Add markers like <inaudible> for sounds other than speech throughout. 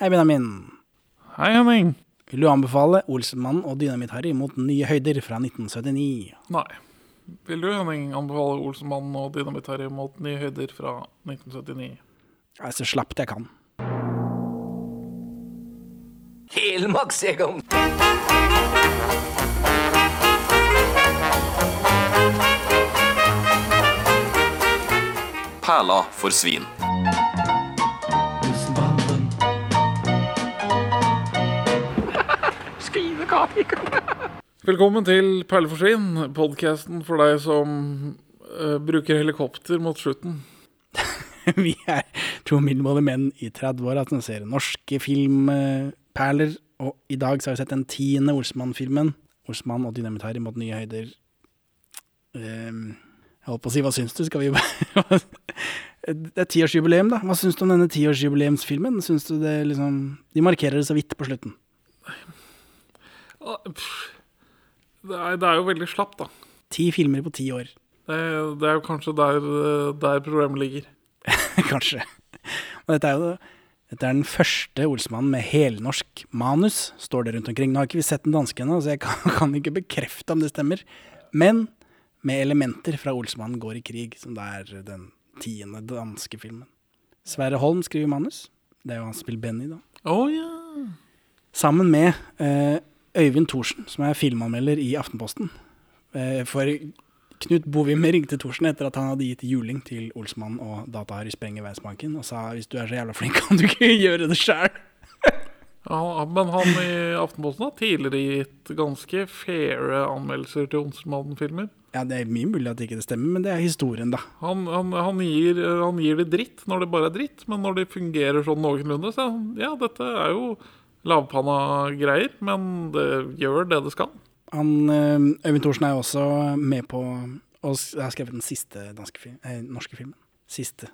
Hei, Benjamin. Hei, Henning. Vil du anbefale Olsenmannen og Dynamitt-Harry mot nye høyder fra 1979? Nei. Vil du, Henning, anbefale Olsenmannen og Dynamitt-Harry mot nye høyder fra 1979? Jeg er så slapt jeg kan. <laughs> Helmaks, jeg om. Perla for svin. Velkommen til Perleforsvinn, podkasten for deg som eh, bruker helikopter mot slutten. Vi er to middelmådige menn i 30-åra som ser norske filmperler, og i dag så har vi sett den tiende Olsenmann-filmen. Olsenmann og Dynamitt-Harry mot nye høyder. Ehm, jeg holdt på å si hva syns du? Skal vi bare <laughs> Det er tiårsjubileum, da. Hva syns du om denne tiårsjubileumsfilmen? Syns du det liksom De markerer det så vidt på slutten. Ah, pff. Det er, det er jo veldig slapt, da. Ti filmer på ti år. Det, det er jo kanskje der, eh, der problemet ligger. <laughs> Kanskje. Og dette er jo dette er den første Olsmannen med helnorsk manus, står det rundt omkring. Nå har ikke vi sett den danske ennå, så jeg <laughs> kan, kan ikke bekrefte om det stemmer. Men med elementer fra Olsmannen går i krig, som det er den tiende danske filmen. Sverre Holm skriver manus. Det er jo han som spiller Benny, da. Å ja. Sammen med eh, Øyvind Thorsen, som er filmanmelder i Aftenposten. Eh, for Knut Bovim ringte Thorsen etter at han hadde gitt juling til Olsmann og Data-Harry Sprenger Verdensbanken, og sa hvis du er så jævla flink, <laughs> kan du ikke gjøre det sjæl? Ja, men han i Aftenposten har tidligere gitt ganske faire anmeldelser til Olsenmannen-filmer. Ja, det er mye mulig at ikke det stemmer, men det er historien, da. Han, han, han, gir, han gir det dritt når det bare er dritt, men når de fungerer sånn noenlunde, så er han, ja, dette er jo lavpanna greier, men det gjør det det skal. Han, eh, Øyvind Thorsen er jo også med på og s- har skrevet den siste danske film, eh, norske filmen. Siste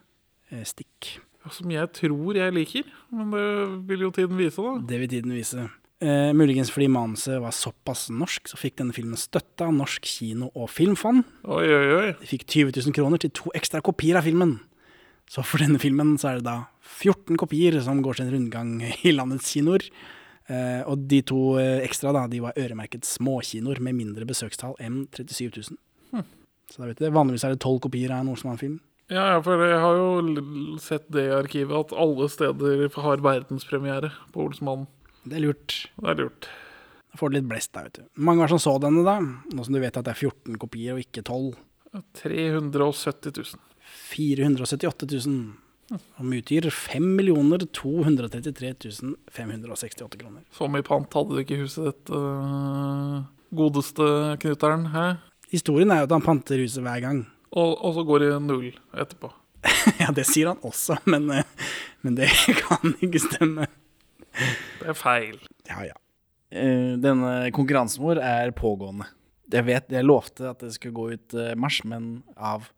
eh, stikk. Som jeg tror jeg liker, men det vil jo tiden vise, da. Det vil tiden vise. Eh, muligens fordi manuset var såpass norsk, så fikk denne filmen støtte av Norsk kino- og filmfond. Oi, oi, oi. De fikk 20 000 kroner til to ekstra kopier av filmen. Så for denne filmen så er det da 14 kopier som går sin rundgang i landets kinoer. Eh, og de to eh, ekstra da, de var øremerket småkinoer med mindre besøkstall enn 37 000. Så da vet du det. Vanligvis er det tolv kopier av en Olsenmann-film. Ja, ja, for jeg har jo l- sett det i arkivet at alle steder har verdenspremiere på Olsmannen. Det er lurt. Det er lurt. Da får du litt blest, da, vet du. Hvor mange var det som så denne, da? Nå som du vet at det er 14 kopier og ikke 12. 370 000. 478 000. Som utgjør 5 233 568 kroner. Så mye pant hadde du ikke i huset ditt, øh, godeste knuteren, hæ? Historien er jo at han panter huset hver gang. <laughs> Og, og så går det null etterpå. Ja, det sier han også, men, eh, men det <laughs> kan ikke stemme. Det er feil. Ja, ja. Eh, denne konkurransen vår er pågående. Jeg vet, jeg lovte at det skulle gå ut eh, mars, men av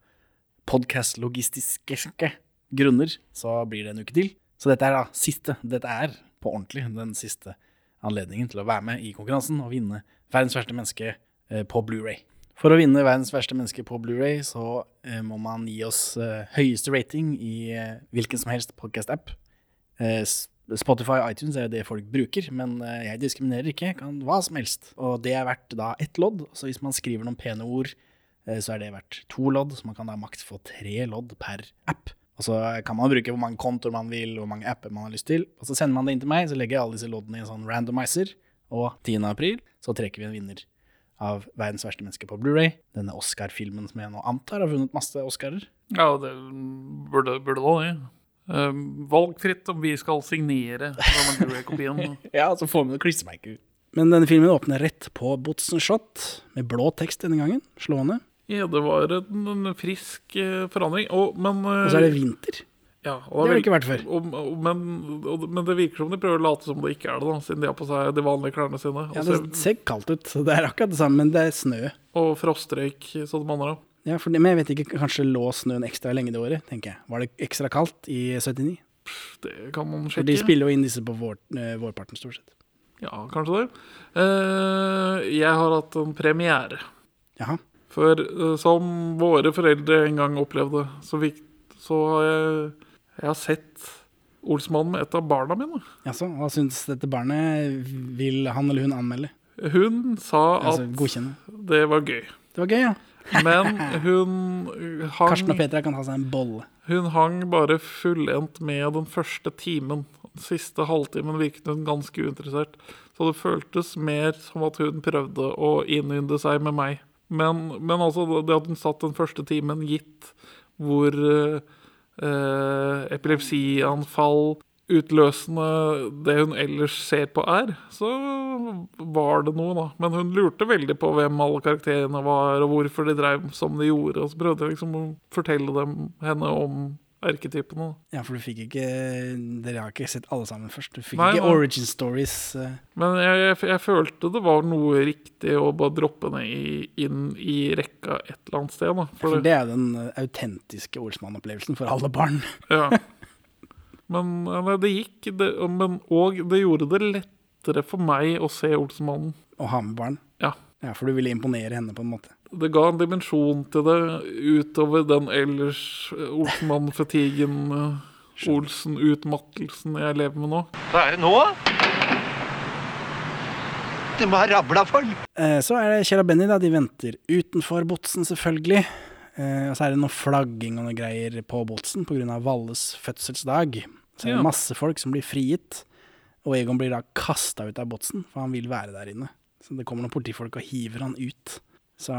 podcast-logistiske grunner så blir det en uke til. Så dette er da siste, dette er på ordentlig den siste anledningen til å være med i konkurransen og vinne verdens verste menneske eh, på Blu-ray. For å vinne verdens verste menneske på Blu-ray så eh, må man gi oss eh, høyeste rating i eh, hvilken som helst podcast-app. Eh, S- Spotify og iTunes er jo det folk bruker, men eh, jeg diskriminerer ikke. Jeg kan hva som helst. Og det er verdt da ett lodd, så hvis man skriver noen pene ord, eh, så er det verdt to lodd, så man kan da maks få tre lodd per app. Og så kan man bruke hvor mange kontoer man vil, hvor mange apper man har lyst til. Og så sender man det inn til meg, så legger jeg alle disse loddene i en sånn randomizer. Og 10. april så trekker vi en vinner av Verdens verste menneske på Blu-ray. Denne Oscar-filmen som jeg nå antar har vunnet masse Oscarer. Ja, det burde, burde da det. Ehm, valgfritt om vi skal signere denne Blu-ray-kopien. Ja, så får vi noen klissemerker. Men denne filmen åpner rett på Botsen Shot, med blå tekst denne gangen. Slående. <laughs> Ja, det var en, en frisk eh, forandring. Og, men, eh, Og så er det vinter. ja, Det og har det det ikke er vel- vært før. og, og, men, og, men det virker som de prøver å late som det ikke er det, da, siden de har på seg de vanlige klærne sine. Ja, og, det så- ser kaldt ut. så Det er akkurat det samme, men det er snø. og frostrøyk, så de andre. Ja, for det, Men jeg vet ikke, kanskje lå snøen ekstra lenge det året, tenker jeg. Var det ekstra kaldt i 79? Det kan man For sjekke. de spiller jo inn disse på vår, eh, vårparten, stort sett. Ja, kanskje det. Eh, jeg har hatt en premiere. Jaha. For eh, som våre foreldre en gang opplevde, så, fikk, så har jeg, jeg har sett Olsmannen med et av barna mine. Jaså, hva syns dette barnet? Vil han eller hun anmelde? Hun sa Altså at godkjenne. det var gøy. Det var gøy, ja. Men hun Karsten og hang, Petra kan ta seg en bolle. hun hang bare fullendt med den første timen. Den siste halvtimen virket hun ganske uinteressert. Så det føltes mer som at hun prøvde å innynde seg med meg. Men, men altså det at hun satt den første timen, gitt hvor eh, eh, epilepsianfall utløsende det hun ellers ser på er, så var det noe, da. Men hun lurte veldig på hvem alle karakterene var, og hvorfor de drev som de gjorde. Og så prøvde jeg liksom å fortelle dem, henne om erketypene. da. Ja, for du fikk ikke Dere har ikke sett alle sammen først. Du fikk Nei, ikke nei. origin stories. eh. Men jeg, jeg, jeg følte det var noe riktig å bare droppe ned i, inn i rekka et eller annet sted. Da. For For det er jo den eh, autentiske ordsmannopplevelsen for alle barn. Ja. Men ja, nei, det gikk, det, men, og det gjorde det lettere for meg å se Olsenmannen. Å ha med barn. Ja. Ja, For du ville imponere henne på en måte. Det ga en dimensjon til det utover den ellers eh, Olsenmann-fatigen, eh, Olsen-utmattelsen jeg lever med nå. Hva er det nå? Det må ha rabla for den. Eh, Så er det Kjell og Benny, da. De venter utenfor botsen, selvfølgelig. Eh, Og så er det noe flagging og noe greier på botsen pga. Valles fødselsdag. Så er det Ja. masse folk som blir frigitt, og Egon blir da kasta ut av botsen, for han vil være der inne. Så det kommer noen politifolk og hiver han ut. Så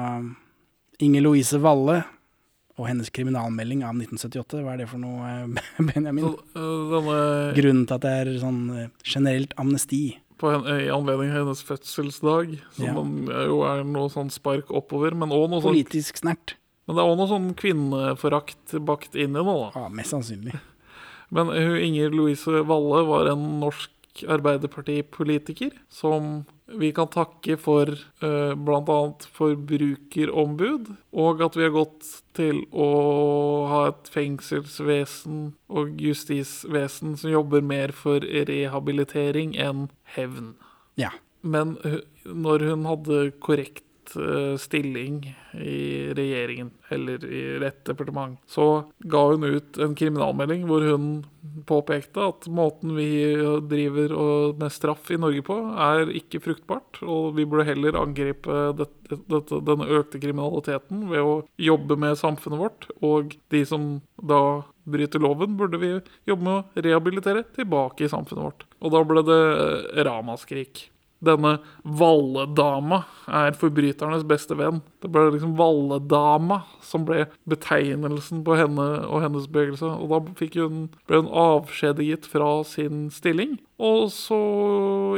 Inger Louise Valle og hennes kriminalmelding av 1978, hva er det for noe, eh, <laughs> Benjamin? Så, eh, Denne, Grunnen til at det er sånn eh, generelt amnesti. på hen, I anledning av hennes fødselsdag, som Ja. den, eh, jo er noe sånn spark oppover. Men, også noe sånn, Politisk snert. men det er òg noe sånn kvinneforakt bakt inn i det. da. Ja, mest sannsynlig. Men hun Inger Louise Valle var en norsk arbeiderpartipolitiker som vi kan takke for eh, bl.a. forbrukerombud, og at vi har gått til å ha et fengselsvesen og justisvesen som jobber mer for rehabilitering enn hevn. Ja. Men hu- når hun hadde korrekt eh, stilling i regjeringen, eller i rett departement, så ga hun ut en kriminalmelding hvor hun påpekte at måten vi eh, driver og- med straff i Norge på, er ikke fruktbart, og vi burde heller angripe dette, dette, denne økte kriminaliteten ved å jobbe med samfunnet vårt, og de som da bryter loven, burde vi jobbe med å rehabilitere tilbake i samfunnet vårt. Og da ble det eh, ramaskrik. Denne Valledama er forbryternes beste venn. Det ble liksom Valledama som ble betegnelsen på henne og hennes bevegelse. Og da fikk hun, ble hun avskjediget fra sin stilling. Og så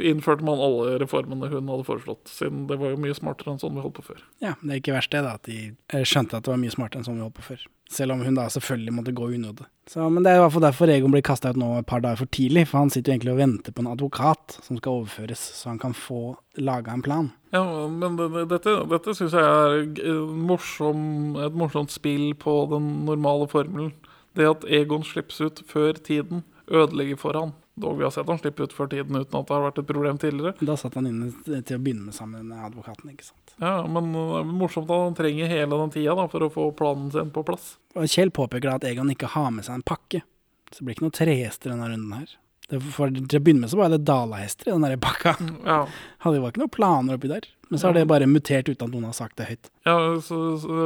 innførte man alle reformene hun hadde foreslått, siden det var jo mye smartere enn sånn vi holdt på før. Ja, det er ikke verst det, da, at de eh, skjønte at det var mye smartere enn sånn vi holdt på før. Selv om hun da selvfølgelig måtte gå i unåde. Så, men det er i hvert fall derfor Egon blir kasta ut nå et par dager for tidlig, for han sitter jo egentlig og venter på en advokat som skal overføres, så han kan få laga en plan. Ja, men det, det, dette, dette syns jeg er g- en morsom, et morsomt spill på den normale formelen. Det at Egon slippes ut før tiden, ødelegger for han. Dog vi har sett han slippe ut før tiden uten at det har vært et problem tidligere. Da satt han inne til å begynne med sammen med advokaten, ikke sant. Ja, Men det er morsomt at han trenger hele den tida da, for å få planen sin på plass. Og Kjell påpeker da at Egon ikke har med seg en pakke, så det blir ikke noe trehester denne runden her. Det, for til å begynne med så var det dalahester i den der pakka. Ja, Hadde det var ikke noen planer oppi der. Men så har det bare mutert uten at noen har sagt det høyt. <laughs> ja så, så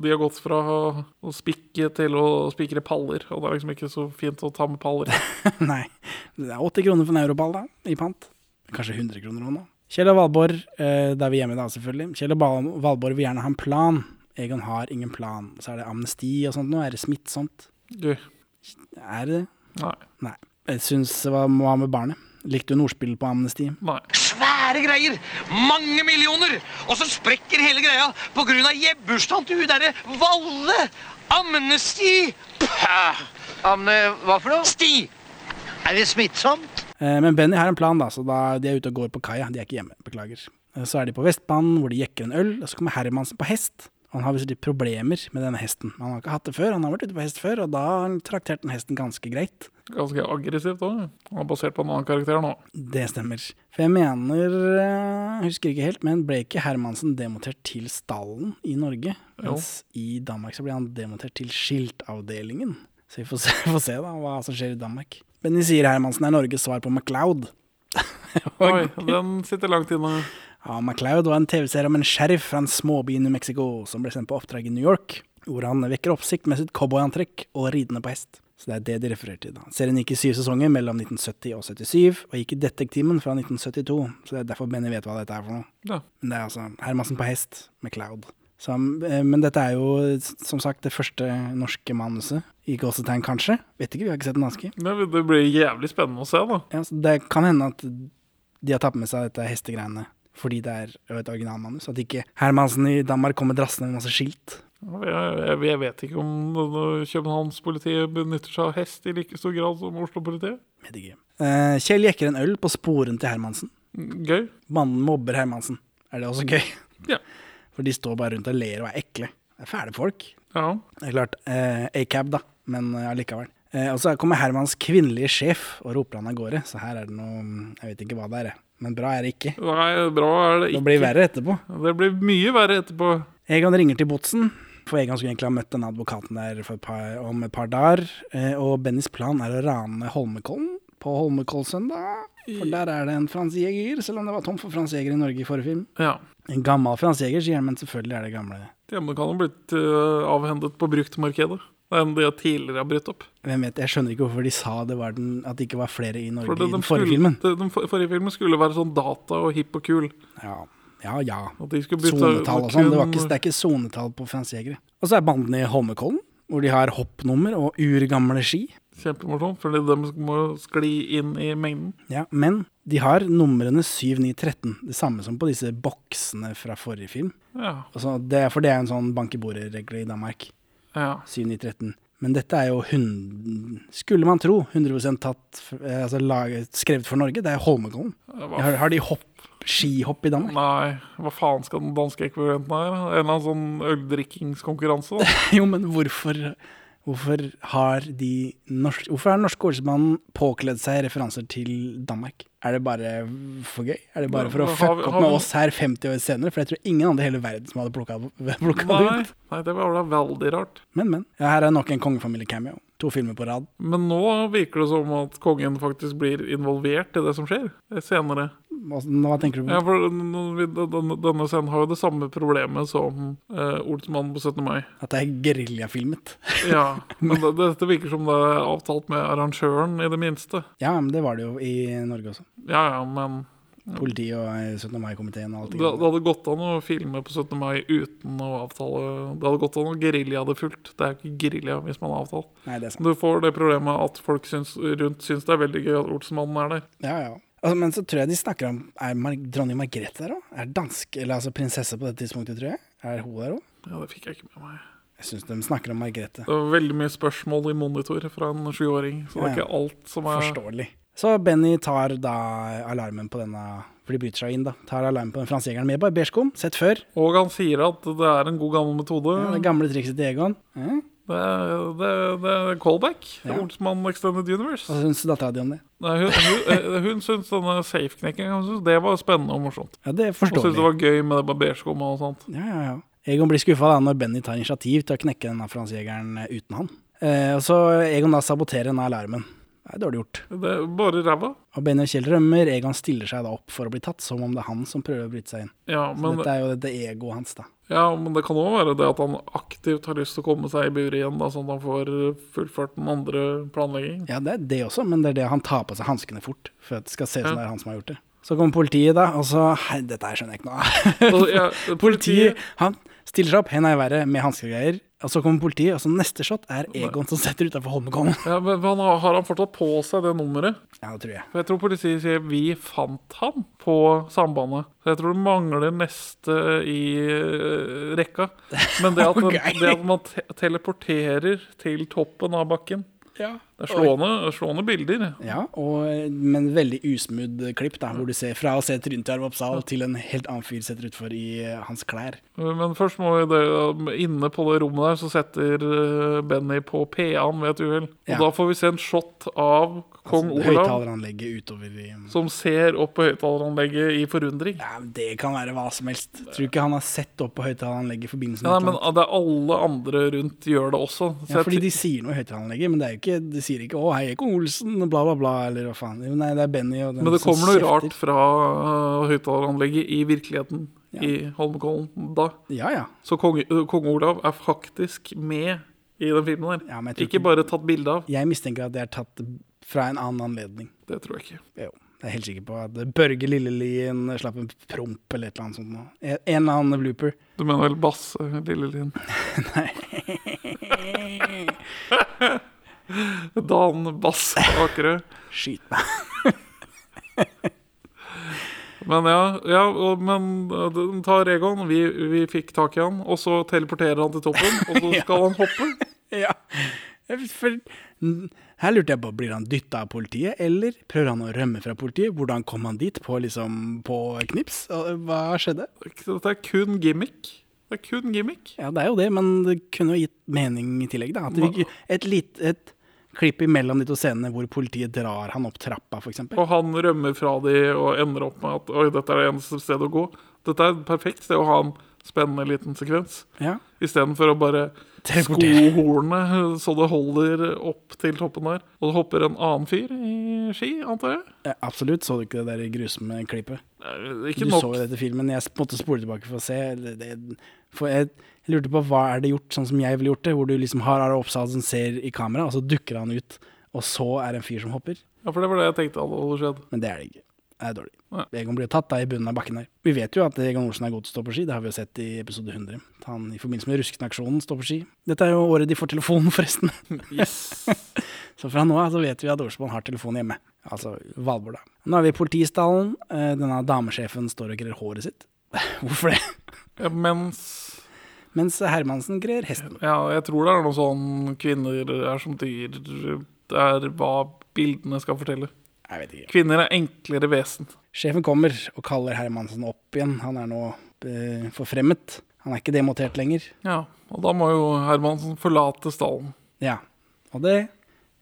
De har gått fra å spikke til å spikre paller, og det er liksom ikke så fint å ta med paller. Nei. Det er 80 kroner for en europall, da, i pant. Kanskje 100 kroner også nå. Kjell og Valborg, eh, da er vi hjemme da, selvfølgelig. Kjell og Val- Valborg vil gjerne ha en plan. Egon har ingen plan. Så er det amnesti og sånt nå. Er det smittsomt? Gøy. Er det det? Nei. Nei. Jeg syns hva må ha med barnet. Likte hun ordspillet på amnesti? Nei. Svære greier! Mange millioner! Og så sprekker hele greia på grunn av gjebbbursdagen til hun derre Valle! Amnesti! Pah! Amne hva for noe? Sti! Er det smittsomt? Eh, men Benny har en plan, da, så da de er ute og går på kaia. De er ikke hjemme, beklager. Eh, Så er de på Vestbanen, hvor de jekker en øl, og så kommer Hermansen på hest. Han har visst litt problemer med denne hesten. Han har ikke hatt det før, han har vært ute på hest før, og da har han traktert den hesten ganske greit. Ganske aggressivt òg. Han er basert på en annen karakter nå. Det stemmer. For jeg mener, eh, husker ikke helt, men ble ikke Hermansen demotert til stallen i Norge? Jo. Mens i <laughs> Danmark så ble han demotert til skiltavdelingen. Så vi får se, får se da, hva som skjer i Danmark. Benny sier Hermansen er Norges svar på MacLeod. Oi, den sitter langt inne. Ja, MacLeod var en TV-serie om en sheriff fra en småby i New Mexico som ble sendt på oppdrag i New York, hvor han vekker oppsikt med sitt cowboyantrekk og ridende på hest. Så det er det de refererer til. da. Serien gikk i syv sesonger mellom 1970 og 77, og gikk i Detektimen fra 1972, så det er derfor Benny vet hva dette er for noe. Ja. Men det er altså Hermansen på hest, MacLeod. Så, han- eh, men dette er jo s- som sagt det første norske manuset, i gåsetegn kanskje. Vet ikke, vi har ikke sett den norske. Det det blir jævlig spennende å se, da. Ja, så det kan hende at de har tatt med seg dette hestegreiene fordi det er jo et originalmanus. At ikke Hermansen i Danmark kommer drassende med masse skilt. Jeg, jeg, jeg vet ikke om denne Københavnspolitiet benytter seg av hest i like stor grad som Oslo-politiet. Vet ikke. Eh, Kjell jekker en øl på sporen til Hermansen. Gøy. Mannen mobber Hermansen. Er det også gøy? <laughs> Ja. For de står bare rundt og ler og er ekle. Det er fæle folk. ja. Det er klart. Eh, A-cab, da, men eh, allikevel. Eh, og så kommer Hermans kvinnelige sjef og roper han av gårde. Så her er det noe Jeg vet ikke hva det er, jeg. men bra er det ikke. Nei, bra er det Det ikke. blir verre etterpå. Det blir mye verre etterpå. Egon ringer til Botsen, for Egon skulle egentlig ha møtt denne advokaten der for et par, om et par dager. eh, Og Bennys plan er å rane Holmenkollen på Holmenkollsøndag. For der er det en Frans Jæger, selv om det var tomt for Frans Jæger i Norge i forrige film. Ja. En gammel Frans Jæger, sier han, men selvfølgelig er det gamle. Ja, men det kan ha blitt eh, avhendet på bruktmarkedet. Det er en de tidligere har brutt opp. Hvem vet, Jeg skjønner ikke hvorfor de sa det var den, at det ikke var flere i Norge For det, i de den forrige skulle- filmen. det- Den for- forrige filmen skulle være sånn data og hipp og kul. Ja, ja. ja. At de skulle bytte Sonetall og sånn. Det, var ikke, kun- det er ikke sonetall på Frans Jæger. Og så er bandene i Holmenkollen, hvor de har hoppnummer og urgamle ski. Kjempemorsomt, fordi de må skli inn i mengden. Ja, men de har numrene 7, 9, 13. Det samme som på disse boksene fra forrige film. Ja, Og så det, for det er en sånn bank i bordet-regle i Danmark. ja. 7, 9, 13. Men dette er jo hund... Skulle man tro 100 tatt, f- eh, altså laget, skrevet for Norge. Det er Holmenkollen. Har, har de hopp, skihopp i Danmark? Nei, hva faen skal den danske ekvivalenten her? En eller annen sånn øldrikkingskonkurranse? da? <laughs> Jo, men hvorfor, hvorfor har de norsk, Hvorfor har den norske ordensmannen påkledd seg referanser til Danmark? Er det bare for gøy? Er det bare for å Har vi- fucke opp har vi- med oss her 50 år senere? For jeg tror ingen andre i hele verden som hadde plukka <laughs> det Nei, ut. nei, det var da veldig rart. Men, men. Ja, her er nok en kongefamilie-cameo. To filmer på rad. Men nå virker det som at kongen faktisk blir involvert i det som skjer eh, senere. Hva Altså, hva tenker du på? Ja, for den- den- den- Denne scenen har jo det samme problemet som eh, Olsmannen på 17. mai. At det er geriljafilmet? <laughs> Ja, men det, dette virker som det er avtalt med arrangøren, i det minste. Ja, men det var det jo i Norge også. Ja, ja, men Politiet og eh, 17. mai-komiteen og alt det, det det greiene. hadde gått an å filme på 17. mai uten å avtale Det hadde gått an å gerilja det fullt. Det er jo ikke gerilja hvis man har avtalt. Nei, det er sant. Du får det problemet at folk syns, rundt syns det er veldig gøy at Olsenmannen er der. Ja, ja. Altså, men så tror jeg de snakker om Er Mar dronning Margrethe der òg? Er dansk Eller altså prinsesse på dette tidspunktet, tror jeg? Er hun der òg? Ja, det fikk jeg ikke med meg. Jeg syns de snakker om Margrethe. Det var veldig mye spørsmål i monitor fra en sjuåring, så det er Ja. ikke alt som er Forståelig. Så Benny tar da alarmen på denne For de bryter seg inn, da. Tar alarmen på den fransejegeren med barberskum. Sett før. Og han sier at det er en god gammel metode. Ja, det gamle trikset til Egon. Ja. Det er, det, er- det er callback. Ja. Olsenmann Extended Universe. Hva syns dattera di om det? Nei, hun, hun, eh, hun syntes denne safe-knekkinga hun syntes det var spennende og morsomt. Ja, det er Hun syntes det forståelig. var gøy med det barberskummet og sånt. Ja, ja, ja. Egon blir skuffa når Benny tar initiativ til å knekke denne fransejegeren eh, uten han. Eh, og så Egon da saboterer denne alarmen. Det er dårlig gjort. Det er bare ræva. Og Benny og Kjell rømmer. Egon stiller seg da opp for å bli tatt, som om det er han som prøver å bryte seg inn. Ja, Men, men, Dette er jo dette egoet hans, da. ja, men det kan òg være det at han aktivt har lyst til å komme seg i buret igjen, da, sånn at han får fullført den andre planleggingen. Ja, det er det også, men det er det han tar på seg hanskene fort. For at det skal se ut som det er han som har gjort det. Så kommer politiet, da, og så Hei, dette her skjønner jeg ikke noe Og, av. <laughs> ja, Politiet han stiller seg opp, henda i været, med hansker og greier. Og så kommer politiet, og så neste shot er Egon som setter utafor Holmenkollen. <laughs> ja, men han har, har han fortsatt på seg det nummeret? Ja, det tror jeg. For jeg tror politiet sier 'vi fant han' på sambandet. Så jeg tror det mangler neste i eh, rekka. <laughs> Men det at, Ok. det at man te teleporterer til toppen av bakken Ja. Det er slående, slående bilder. og, men veldig usmooth klipp, da, hvor du ser fra å se trynet til Arve Oppsal til en helt annen fyr setter utfor i eh, hans klær. Men først må vi det, inne på det rommet der så setter eh, Benny på PA-en ved et uhell. Og Ja. Altså, da får vi se en shot av kong Olav Høyttaleranlegget utover i som ser opp på høyttaleranlegget i forundring. ja, men Det kan være hva som helst. Tror ikke han har sett opp på høyttaleranlegget i forbindelse med Ja, et eller nei, men annet. det er alle andre rundt gjør det også. Så Ja, jeg fordi ty- de sier noe i høyttaleranlegget, men det er jo ikke, de sier ikke 'Å, hei, Ekon Olsen', bla, bla, bla, eller hva faen. Jo, nei, det er Benny og den Men det som kommer noe kjefter. rart fra eh, høyttaleranlegget i virkeligheten i Holmenkollen da. Ja, ja. Så konge, eh, kong Olav er faktisk med i den filmen der. Ja, men jeg tror ikke ikke- bare tatt bilde av. Jeg mistenker at det er tatt fra en annen anledning. Det tror jeg ikke. Jo, jeg er helt sikker på at Børge Lillelien slapp en promp eller et eller annet sånt. nå. En en eller annen blooper. Du mener vel Basse, lille Linn? Nei. <laughs> Dan Basse Akerø. Skyt meg. Men ja, ja og- men eh, den tar Egon. Vi, vi fikk tak i han, og så teleporterer han til toppen, og så skal han hoppe. <laughs> Ja. For, her lurte jeg på, blir han dytta av politiet, eller prøver han å rømme fra politiet? Hvordan kom han dit på, liksom, på knips? Og Hva skjedde? Dette er kun gimmick. Det er kun gimmick. Ja, det er jo det, men det kunne jo gitt mening i tillegg, da. At vi, ikke- et, lit, et klipp imellom de to scenene hvor politiet drar han opp trappa, for eksempel. Og han rømmer fra de og ender opp med at Oi, dette er det eneste stedet å gå. Dette er et perfekt sted å ha en spennende liten sekvens. Ja. Istedenfor å bare sko Teleportere. hornet <laughs> så det holder opp til toppen der. Og det hopper en annen fyr i ski, antar jeg. Eh, Absolutt. Så du ikke det der grusomme klippet? Det er Ikke Du nok. så jo dette filmen. Jeg sp- måtte spole tilbake for å se. Det, det, for jeg, jeg lurte på hva er det gjort sånn som jeg ville gjort det, hvor du liksom har Are Oppsal som ser i kamera, og så dukker han ut, og så er det en fyr som hopper. Ja, for det var det jeg tenkte hadde hadde skjedd. Men det er det ikke. Det er dårlig. Nei. Egon blir tatt da i bunnen av bakken her. Vi vet jo at Egon Olsen er god til å stå på ski, det har vi jo sett i episode 100. Han i forbindelse med Ruskenaksjonen står på ski. Dette er jo året de får telefon, <laughs> forresten. Yes. <laughs> Så fra nå av så vet vi at Olsmann har telefon hjemme. Altså Valborg, da. Nå er vi i politistallen. Eh, Denne damesjefen står og grer håret sitt. <laughs> Hvorfor det? Ja, mens Mens Hermansen grer hesten. Ja, jeg tror det er noe sånn kvinner er som dyr. Det er hva bildene skal fortelle. Jeg vet ikke. Kvinner er enklere vesen. Sjefen kommer og kaller Hermansen opp igjen. Han er nå eh, forfremmet. Han er ikke demotert lenger. Ja, og da må jo Hermansen forlate stallen. Ja. Og det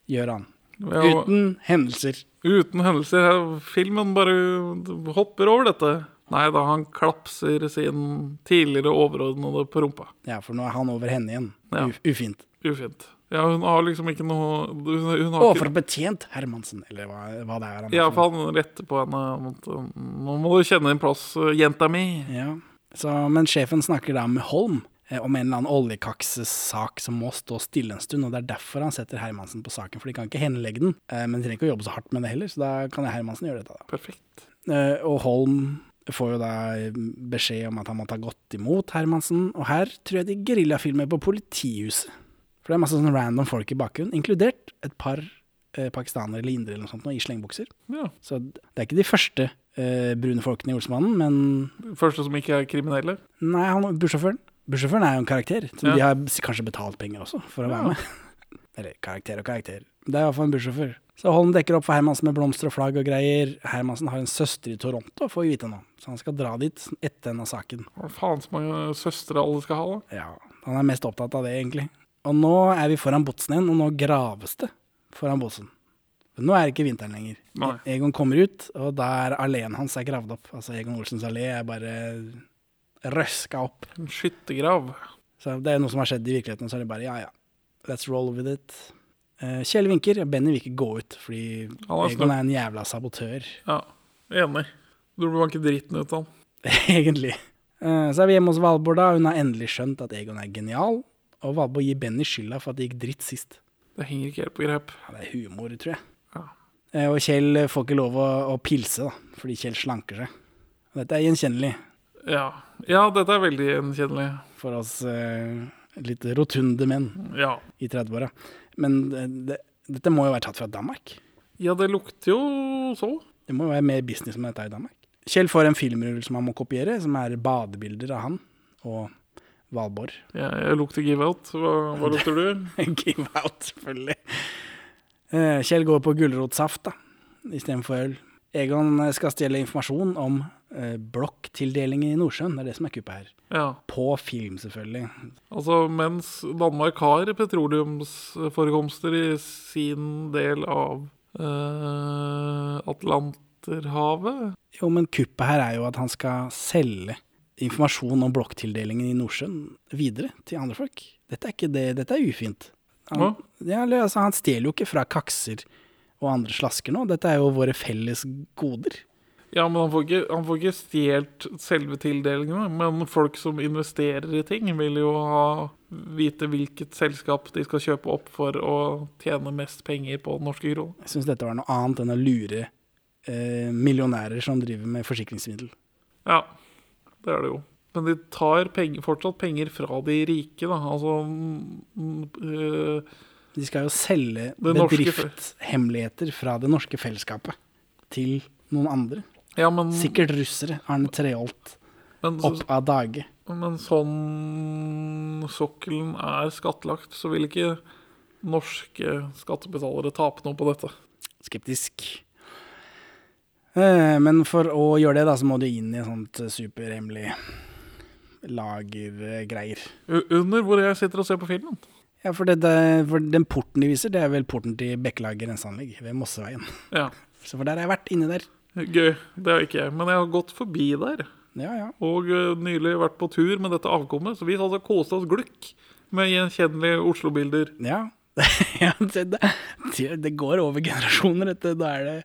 gjør han. Ja, og- Uten hendelser. Uten hendelser. her. Filmen bare hopper over dette. Nei da, han klapser sin tidligere overordnede på rumpa. Ja, for nå er han over henne igjen. Ja. U ufint. Ufint. Ja, hun har liksom ikke noe Hun, hun har ikke Overbetjent Hermansen, eller hva, hva det er han er Ja, for for han retter på henne. mot, Nå må du kjenne din plass, jenta mi. noe. Ja. Så, men sjefen snakker da med Holm eh, om en eller annen oljekaksesak som må stå stille en stund, og det er derfor han setter Hermansen på saken, for de kan ikke henlegge den. Eh, men de trenger ikke å jobbe så hardt med det heller, så da kan Hermansen gjøre dette. da. Perfekt. Eh, og Holm får jo da beskjed om at han må ta godt imot Hermansen, og her tror jeg de geriljafilmer på politihuset. For det er masse sånn random folk i bakgrunnen, inkludert et par eh, pakistanere eller indere eller noe sånt nå, i slengbukser. Ja. Så det er ikke de første eh, brune folkene i Olsmannen, men Første som ikke er kriminelle. nei, han, bussjåføren. Bussjåføren er jo en karakter, så Ja. de har s- kanskje betalt penger også for å være med. <laughs> Eller karakter og karakter. Det er iallfall en bussjåfør. Så Holm dekker opp for Hermansen med blomster og flagg og greier. Hermansen har en søster i Toronto, får vi vite nå, så han skal dra dit etter denne saken. Hva faen så mange søstre alle skal ha, da? Ja, han er mest opptatt av det, egentlig. Og nå er vi foran botsen igjen, og nå graves det foran botsen. Men nå er det ikke vinteren lenger. E, Nei. Egon kommer ut, og da er alleen hans er gravd opp. Altså Egon Olsens allé er bare røska opp. En skyttergrav. Så det er noe som har skjedd i virkeligheten, så er det bare ja, ja. Let's roll with it. Eh, Kjell vinker. Benny vil ikke gå ut, fordi Han er Egon er en jævla sabotør, <laughs> Ja, enig. Du blir ikke dritten ut av han. egentlig. Eh, så er vi hjemme hos Valborg, da. Hun har endelig skjønt at Egon er genial. Og Valborg gir Benny skylda for at det gikk dritt sist. Det henger ikke helt på grep. Ja, det er humor, tror jeg. Ja. Eh, Og Kjell får ikke lov å, å pilse, da, fordi Kjell slanker seg. Og dette er gjenkjennelig Ja. ja, dette er veldig gjenkjennelig. for oss eh, litt rotunde menn Ja. i 30-åra. Men eh, det, dette må jo være tatt fra Danmark. ja, det lukter jo sånn. så. Det må jo være mer business med dette i Danmark. Kjell får en filmrull som han må kopiere, som er badebilder av han og Valborg. <laughs> Jeg, jeg lukter give-out. Hva, hva lukter du? Give out, selvfølgelig. Eh, Kjell går på gulrotsaft da, istedenfor øl. Egon skal stjele informasjon om eh, blokktildeling i Nordsjøen, det er det som er kuppet her. <laughs> Ja. På film, selvfølgelig. Altså, mens Danmark har petroleumsforekomster i sin del av eh, Atlanterhavet Jo, men kuppet her er jo at han skal selge informasjon om blokktildelingen i Nordsjøen videre til andre folk. Dette er ikke det, dette er ufint. Han, Hva? Ja, eller, altså, han stjeler jo ikke fra kakser og andre slasker nå. Dette er jo våre felles goder. Ja, men han får ikke, han får ikke stjålet selve tildelingene. Men folk som investerer i ting, vil jo ha vite hvilket selskap de skal kjøpe opp for å tjene mest penger på norske kroner. Jeg syns dette var noe annet enn å lure eh, millionærer som driver med forsikringsmiddel. Ja, det er det jo. Men de tar penger, fortsatt penger fra de rike, da. Altså mm, mm, øh, De skal jo selge Det norske bedriftshemmeligheter fra det norske fellesskapet til noen andre. Ja, men, Sikkert russere. Arne Treholt men, så, opp av dage. men sånn sokkelen er skattlagt, så vil ikke norske skattebetalere tape noe på dette. skeptisk. Eh, Men for å gjøre det, da, så må du inn i et sånt eh, superhemmelig lagergreier. U- Under hvor jeg sitter og ser på filmen. Ja, for, det, det, for den porten de viser, det er vel porten til Bekkelaget renseanlegg ved Mosseveien. <laughs> Ja, Så for der har jeg vært inne der. Gøy. Det har ikke jeg. Men jeg har gått forbi der. Ja, ja. Og ø, nylig vært på tur med dette avkommet. Så vi hadde kost oss glukk med gjenkjennelige Oslo-bilder. ja. <laughs> Ja, det, det, det går over generasjoner. Dette. Da er det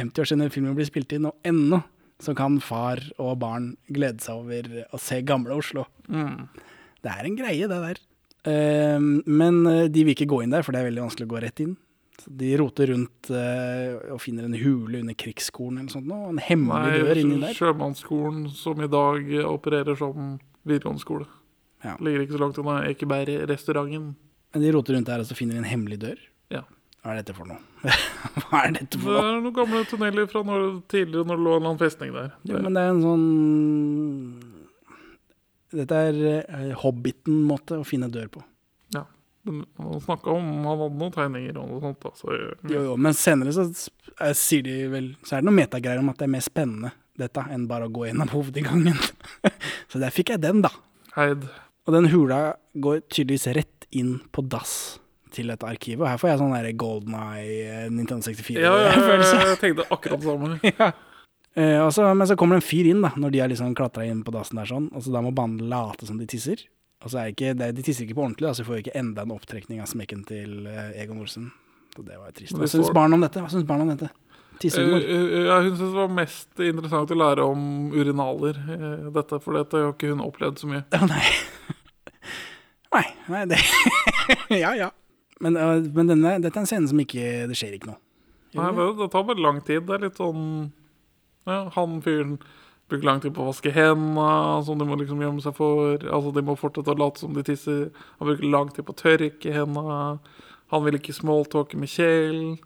50 år siden filmen ble spilt inn, og ennå så kan far og barn glede seg over å se gamle Oslo. Mm. Det er en greie, det der. Eh, men eh, de vil ikke gå inn der, for det er veldig vanskelig å gå rett inn. Så de roter rundt eh, og finner en hule under krigsskolen eller sånt nå, og en hemmelig dør inni Nei, der. Sjømannsskolen, som i dag ø, opererer som videregående skole. Ja. Ligger ikke så langt unna Ekebergrestauranten. Men de roter rundt der, og så finner de en hemmelig dør. Ja. Hva er dette for noe? <laughs> Hva er dette Det for noe? er noen gamle tunneler fra når, tidligere når det lå en eller annen festning der. Jo, men det er en sånn Dette er eh, Hobbiten-måte å finne dør på. Ja. Men han snakka om han hadde noen tegninger og noe sånt. da, så ø, Jo, jo, men senere så s- eh, sier de vel Så er det noen metagreier om at det er mer spennende dette enn bare å gå gjennom <laughs> hovedinngangen. så der fikk jeg den, da. Heid. Og den hula går tydeligvis rett inn på dass til dette arkivet. Og her får jeg sånn der Golden Eye Nintendo Ja, ja, <laughs> ja, 64-følelse. jeg tenkte akkurat <laughs> det samme. Eh, og så- men så kommer det en fyr inn, da, når de har liksom klatra inn på dassen der sånn. Og så da må banen late som de tisser. Og så er ikke, det, de tisser ikke på ordentlig, da, så vi får ikke enda en opptrekning av smekken til eh, Egon Olsen. Så det var jo trist. Men Hva de syns får- barna om dette? Hva syns barna om dette? Tissehumor. Eh, eh, ja, hun syntes det var mest interessant å lære om urinaler, eh, dette, for dette har ikke hun opplevd så mye. Å <laughs> nei. nei. Nei, det <laughs> Ja, ja. Men, øh, men denne, dette er en scene som ikke Det skjer ikke noe. Nei, det, det tar bare lang tid. Det er litt sånn ja, Han fyren bruker lang tid på å vaske hendene, som de må liksom gjemme seg for. Altså, De må fortsette å late som de tisser. Han bruker lang tid på å tørke hendene. Han vil ikke smalltalke med Kjell.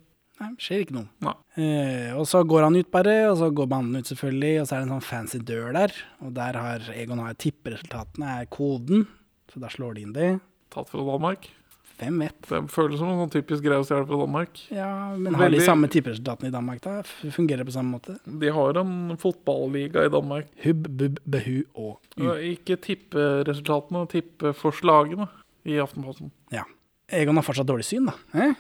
Nei, det skjer ikke noe. Nei. Eh, og så går han ut bare, og så går banen ut selvfølgelig, og så er det en sånn fancy dør der, og der har Egon har tipperesultatene, er koden, så da slår de inn det. Tatt fra Danmark. Hvem vet? Det føles som en sånn typisk greie å stjele fra Danmark. Ja, men har de Veldig- samme tipperesultatene i Danmark da? F- Fungerer det på samme måte? De har en fotballiga i Danmark. Hubb, bubb, behu og u. Ja, Ikke tipperesultatene, tippeforslagene i Aftenposten. Ja. Egon har fortsatt dårlig syn da. Eh?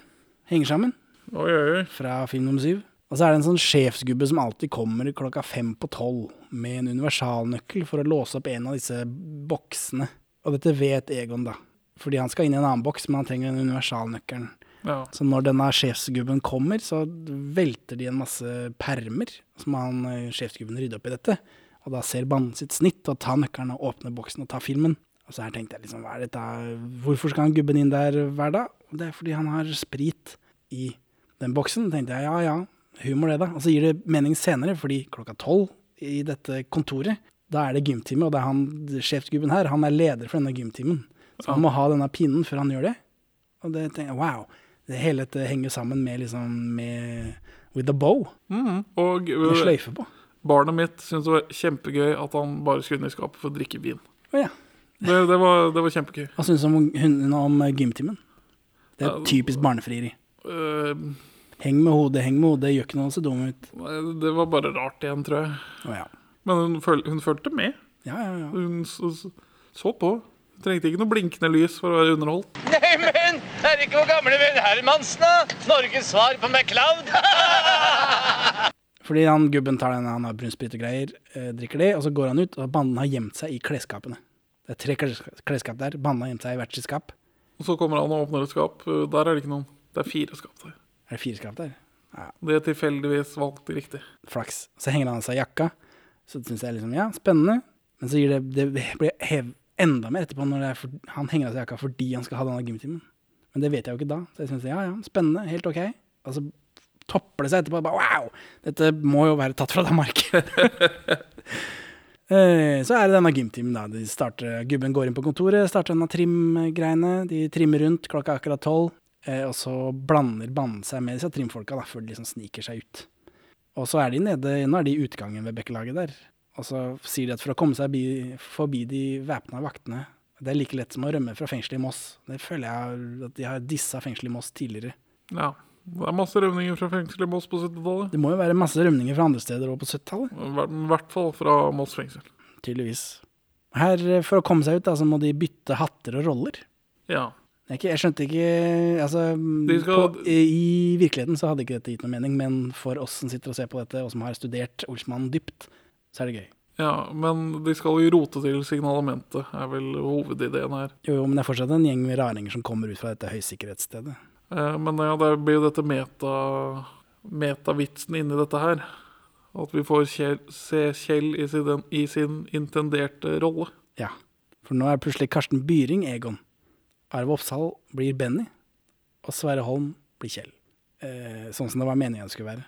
Henger sammen Oi, oi, oi. fra film nummer syv. Og så er det en sånn sjefsgubbe som alltid kommer klokka fem på tolv med en universalnøkkel for å låse opp en av disse boksene. Og dette vet Egon, da. Fordi han skal inn i en annen boks, men han trenger den universalnøkkelen. Ja. Så når denne sjefsgubben kommer, så velter de en masse permer, som han eh, sjefsgubben rydder opp i dette. Og da ser banen sitt snitt og tar nøkkelen og åpner boksen og tar filmen. Og så her tenkte jeg liksom, hva er dette? Hvorfor skal han gubben inn der hver dag? Og Det er fordi han har sprit i den boksen. tenkte jeg, ja ja, humor det da. Og så gir det mening senere, fordi klokka tolv i dette kontoret, da er det gymtime, og det er han, sjefsgubben her, han er leder for denne gymtimen. Så han må ha denne pinnen før han gjør det. Og det tenker jeg, wow. Det hele dette henger sammen med liksom med With a bow. Mm. Og øh, ø, Med sløyfe på. barnet mitt syntes det var kjempegøy at han bare skulle inn i skapet for å drikke vin. Å ja. Det, det, var, det var kjempegøy. Hva syns du om, hun om gymtimen? Det er typisk barnefrieri. Ø, Heng med hodet, heng med hodet, gjør ikke noe, så dum ut. det var bare rart igjen, tror jeg. Å ja. Men hun, føl, hun fulgte med. Ja, ja, ja. Hun så, så på. Hun trengte ikke noe blinkende lys for å være underholdt. Neimen, er det ikke vår gamle venn Hermansen, da? Norges svar på MacLeod? Fordi han gubben tar den, han har brunsprit og greier, eh, drikker det, og så går han ut, og banden har gjemt seg i klesskapene. Det er tre kles- klesskap der, banden har gjemt seg i hvert sitt skap. Og så kommer han og åpner et skap. Eh, Der er det ikke noen. Det er fire skap der. Er det fire skap der? Ja, Det er tilfeldigvis valgt riktig. flaks. Så henger han av seg jakka. Så syns jeg liksom, ja, spennende. Men så gir det, det blir hev enda mer etterpå når det er for, han henger av seg jakka fordi han skal ha denne gymtimen. Men det vet jeg jo ikke da. Så jeg syns ja, ja, spennende, helt ok. Og så topper det seg etterpå. Bare, wow! Dette må jo være tatt fra Danmark. <laughs> Eh, Så er det denne gymtimen, da. De starter, gubben går inn på kontoret, starter denne trimgreiene. De trimmer rundt, klokka er akkurat tolv. eh, Og så blander banen seg med disse trimfolka, da, før de liksom sniker seg ut. Og så er de nede, nå er de i utgangen ved Bekkelaget der. Og så sier de at for å komme seg bi, forbi de væpna vaktene, det er like lett som å rømme fra fengselet i Moss. Det føler jeg har- at de har dissa fengselet i Moss tidligere. Ja. Det er masse rømninger fra fengselet i Moss på 70-tallet. Det må jo være masse rømninger fra andre steder òg på 70-tallet. I hvert fall fra Moss fengsel. Tydeligvis. Her, eh, for å komme seg ut, da, så må de bytte hatter og roller. Ja. Jeg, ikke, jeg skjønte ikke altså, De skal- på, I virkeligheten så hadde ikke dette gitt noe mening, men for oss som sitter og ser på dette, og som har studert Olsmann dypt, så er det gøy. Ja, men de skal jo rote til signalementet, er vel hovedideen her. Jo, jo, men det er fortsatt en gjeng med raringer som kommer ut fra dette høysikkerhetsstedet. Eh, Men ja, det blir jo dette meta, metavitsen inni dette her. At vi får Kjell, se Kjell i sin, i sin intenderte rolle. Ja, for nå er plutselig Karsten Byring Egon. Arve Oppsal blir Benny, og Sverre Holm blir Kjell. Eh, sånn som det var meningen det skulle være.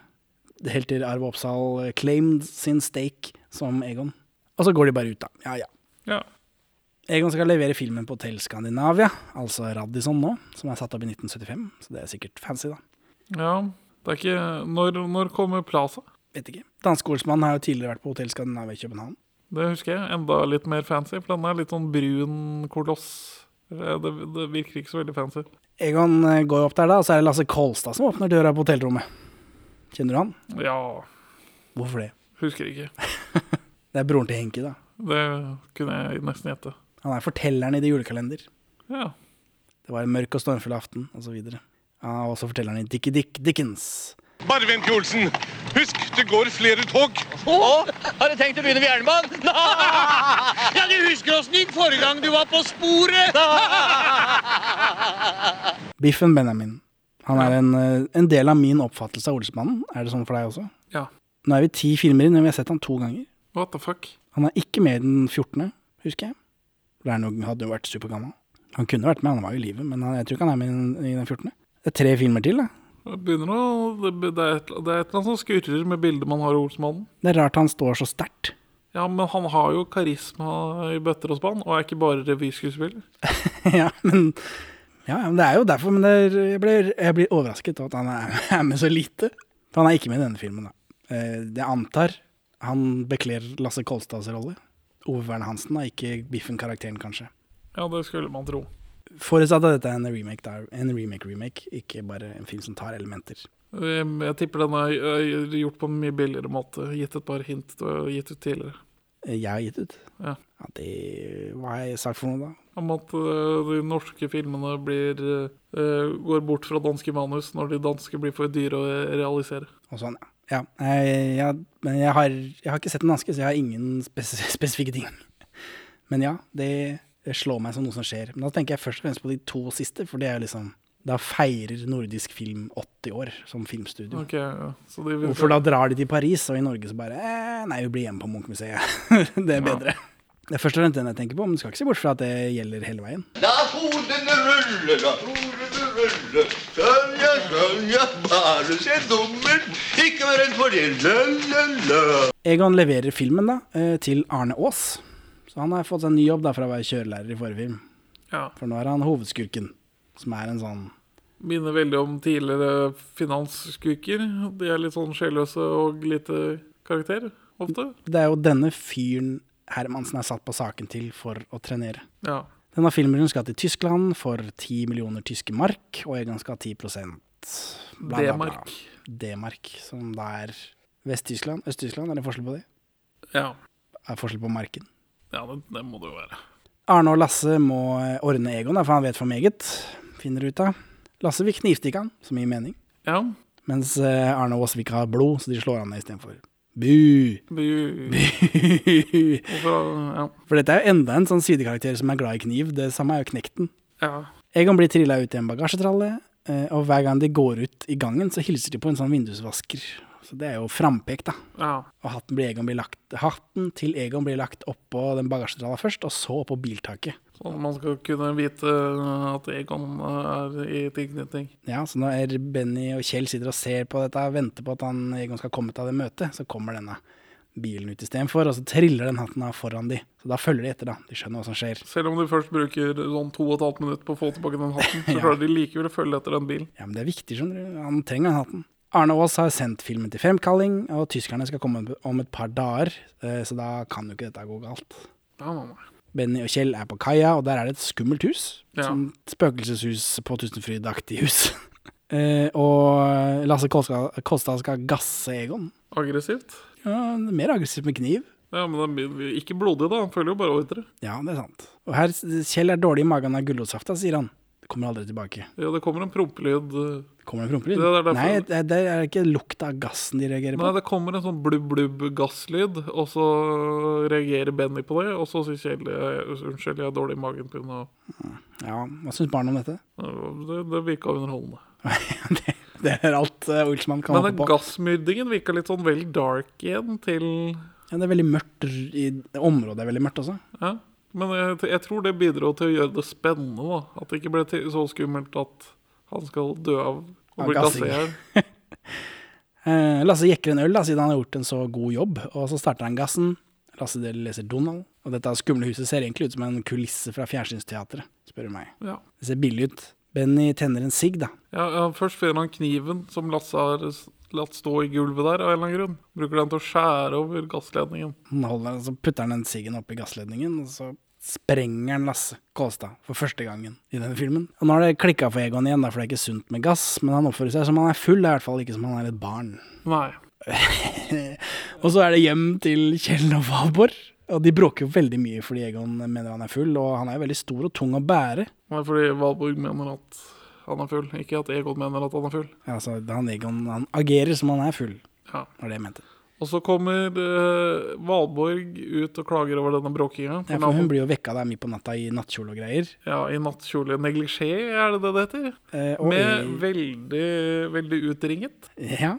Det Helt til Arve Oppsal eh, claimed sin stake som Egon. Og så går de bare ut, da. Ja, ja. Ja. Egon skal levere filmen på Hotell Skandinavia, altså Radisson nå, som er satt opp i 1975, så det er sikkert fancy, da. ja. Det er ikke Når, når kommer Plaza? Vet ikke. Danskeholsmannen har jo tidligere vært på Hotell Skandinavia i København. Det husker jeg. Enda litt mer fancy, for den er litt sånn brun koloss. Eh, Det, det virker ikke så veldig fancy. Egon eh, går opp der, da, og så er det Lasse Kolstad som åpner døra på hotellrommet. Kjenner du han? Ja, Hvorfor det? husker ikke. Det er broren til Henki, da. Det kunne jeg nesten gjette. Han er fortelleren i Det julekalender. Ja. Det var en mørk og stormfull aften, osv. Han er også fortelleren i Dickie Dick Dickens. Bare vent, Olsen. Husk, det går flere tog. Å, har du tenkt å begynne med jernbanen? <laughs> Ja, du husker åssen det gikk forrige gang du var på <laughs> sporet? Biffen Benjamin. Han er en, eh, en del av min oppfattelse av Olsmannen. Er det sånn for deg også? ja. Nå er vi ti filmer inn, og vi har sett han to ganger. What the fuck? Han er ikke med i den 14., husker jeg. Det er noe, hadde jo vært supergammal. Han kunne vært med, han var jo i live, men han, jeg tror ikke han er med i den- i den 14. Det er tre filmer til, da. Det begynner å Det det er et, det er et eller annet som skurrer med bildet man har av Olsmannen. Det er rart han står så sterkt. Ja, men han har jo karisma i bøtter og spann, og er ikke bare revyskuespiller. <laughs> ja, men ja, ja, men det er jo derfor, men det er, jeg, blir, jeg blir overrasket over at han er, <laughs> er med så lite. For han er ikke med i denne filmen, da. Eh, Jeg antar han bekler Lasse Kolstads rolle. Ove Verne Hansen er ikke Biffen-karakteren, kanskje. Ja, det skulle man tro. Forutsatt at dette er en remake, da. En remake-remake, ikke bare en film som tar elementer. Jeg, Ehm, jeg tipper den er er gjort på en mye billigere måte. Gitt et par hint og gitt ut tidligere. Eh, Jeg har gitt ut. Ja. Ja, det Hva har jeg sagt for noe, da? Om at øh, de norske filmene blir øh, går bort fra danske manus når de danske blir for dyre å realisere. Og sånn, ja. ja. eh, ja men jeg har, jeg har ikke sett en aske, så jeg har ingen spes <laughs> spesifikke ting. Men ja, det slår meg som noe som skjer. Men da tenker jeg først og fremst på de to siste, for det er jo liksom Da feirer nordisk film 80 år som filmstudio. Ok, ja. Så de vil- Hvorfor da drar de til Paris, og i Norge så bare eh, Nei, vi blir hjemme på Munch-museet. <laughs> det er bedre. Det er først og fremst den jeg tenker på, men du skal ikke se bort fra at det gjelder hele veien. La hodene rulle, la hodene rulle. Sølja, sølja, bare se dummert. Ikke vær redd for det. La, la, la. Egon leverer filmen da, eh, til Arne Aas. Så han har fått seg en ny jobb da, fra å være kjørelærer i forrige film. Ja. For nå er han hovedskurken, som er en sånn Minner veldig om tidligere finansskurker. De er litt sånn sjelløse og lite karakter, ofte. Det er jo denne fyren Hermansen er satt på saken til for å trenere. Ja. Denne filmen skal til Tyskland for 10 millioner tyske mark, og Egon skal ha 10 bla, bla, bla. D-mark. D-mark, som da er Vest-Tyskland. Øst-Tyskland, er det forskjell på det? Ja. Er det forskjell på marken? ja, det, det må det jo være. Arne og Lasse må eh, ordne Egon, da, for han vet for meget, finner du ut av. Lasse vil knivstikke han, som gir mening. Ja. Mens eh, Arne og Åse vil ikke ha blod, så de slår han ned istedenfor. Bu! <laughs> Bu- Hvorfor, ja. For dette er jo enda en sånn sidekarakter som er glad i kniv. Det samme er jo Knekten. ja. Egon blir trilla ut i en bagasjetralle, eh, og hver gang de går ut i gangen, så hilser de på en sånn vindusvasker. Så det er jo frampekt, da. Ja. Og hatten, blir Egon blir lagt, hatten til Egon blir lagt oppå den bagasjetralla først, og så oppå biltaket. Sånn at man skal kunne vite at Egon er i tilknytning. Ja, Så når Benny og Kjell sitter og ser på dette og venter på at han, Egon skal komme ut av det møtet, så kommer denne bilen ut istedenfor, og så triller den hatten av foran de. Så da følger de etter, da. De skjønner hva som skjer. Selv om de først bruker sånn to og et halvt minutt på å få tilbake den hatten, så klarer de likevel å følge etter den bilen. Ja, men det er viktig, skjønner du. Han trenger den hatten. Arne Aas har sendt filmen til fremkalling, og tyskerne skal komme om et par dager, eh, så da kan jo ikke dette gå galt. Ja, nei, nei. Benny og Kjell er på kaia, og der er det et skummelt hus. Ja. Sånn spøkelseshus på Tusenfryd-aktig hus. <laughs> Eh, og Lasse Kolstad, Kolstad skal gasse Egon. Aggressivt. Ja, mer aggressivt med kniv. Ja, men den blir ikke blodig, da. Han følger jo bare ordre. Ja, det er sant. Og her, Kjell er dårlig i magen av gulrotsafta, sier han. Kommer aldri tilbake. Ja, det kommer en prompelyd. eh, Kommer det en prompelyd? Det er derfor- Nei, det, det er ikke lukta av gassen de reagerer på. Nei, det kommer en sånn blubb-blubb-gasslyd, og så reagerer Benny på det, og så sier Kjell eh, unnskyld, jeg har dårlig i magen pga. Ja, Hva syns barna om dette? Det, det virka underholdende. <laughs> det, det er alt eh, Olsman kan Men hoppe den på. gassmyrdingen virka litt sånn vel dark igjen til Ja, det er veldig mørkt r- i området. er veldig mørkt også. ja. Men jeg, jeg tror det bidro til å gjøre det spennende. da At det ikke ble til, så skummelt at han skal dø av å Av bli gassing. gasset i hjel. <laughs> Eh, Lasse jekker en øl da, siden han har gjort en så god jobb, og så starter han gassen. Lasse del leser Donald, og dette skumle huset ser egentlig ut som en kulisse fra fjernsynsteatret, spør du meg. Ja. Det ser billig ut. Benny tenner en sigg, da. Ja, ja, først finner han kniven som Lasse har s- latt stå i gulvet der, av en eller annen grunn. Bruker den til å skjære over gassledningen. Han holder, så putter han den siggen oppi gassledningen, og så sprenger han Lasse Kolstad for første gangen i denne filmen. Og nå har det klikka for Egon igjen, da, for det er ikke sunt med gass, men han oppfører seg som han er full, det er i hvert fall ikke som han er et barn. Nei. Og så er det hjem til Kjell og Valborg. Og de bråker jo veldig mye fordi Egon mener han er full, og han er jo veldig stor og tung å bære. Nei, fordi Valborg mener at han er full, ikke at Egon mener at han er full. Altså, han Egon han agerer som han er full, Ja. var det jeg mente. Og så kommer eh, Valborg ut og klager over denne bråkinga. Ja, for hun blir jo vekka der midt på natta i nattkjole og greier. ja, I nattkjole neglisjé, er det det det heter? Eh, og Med veldig, veldig utringet. Ja.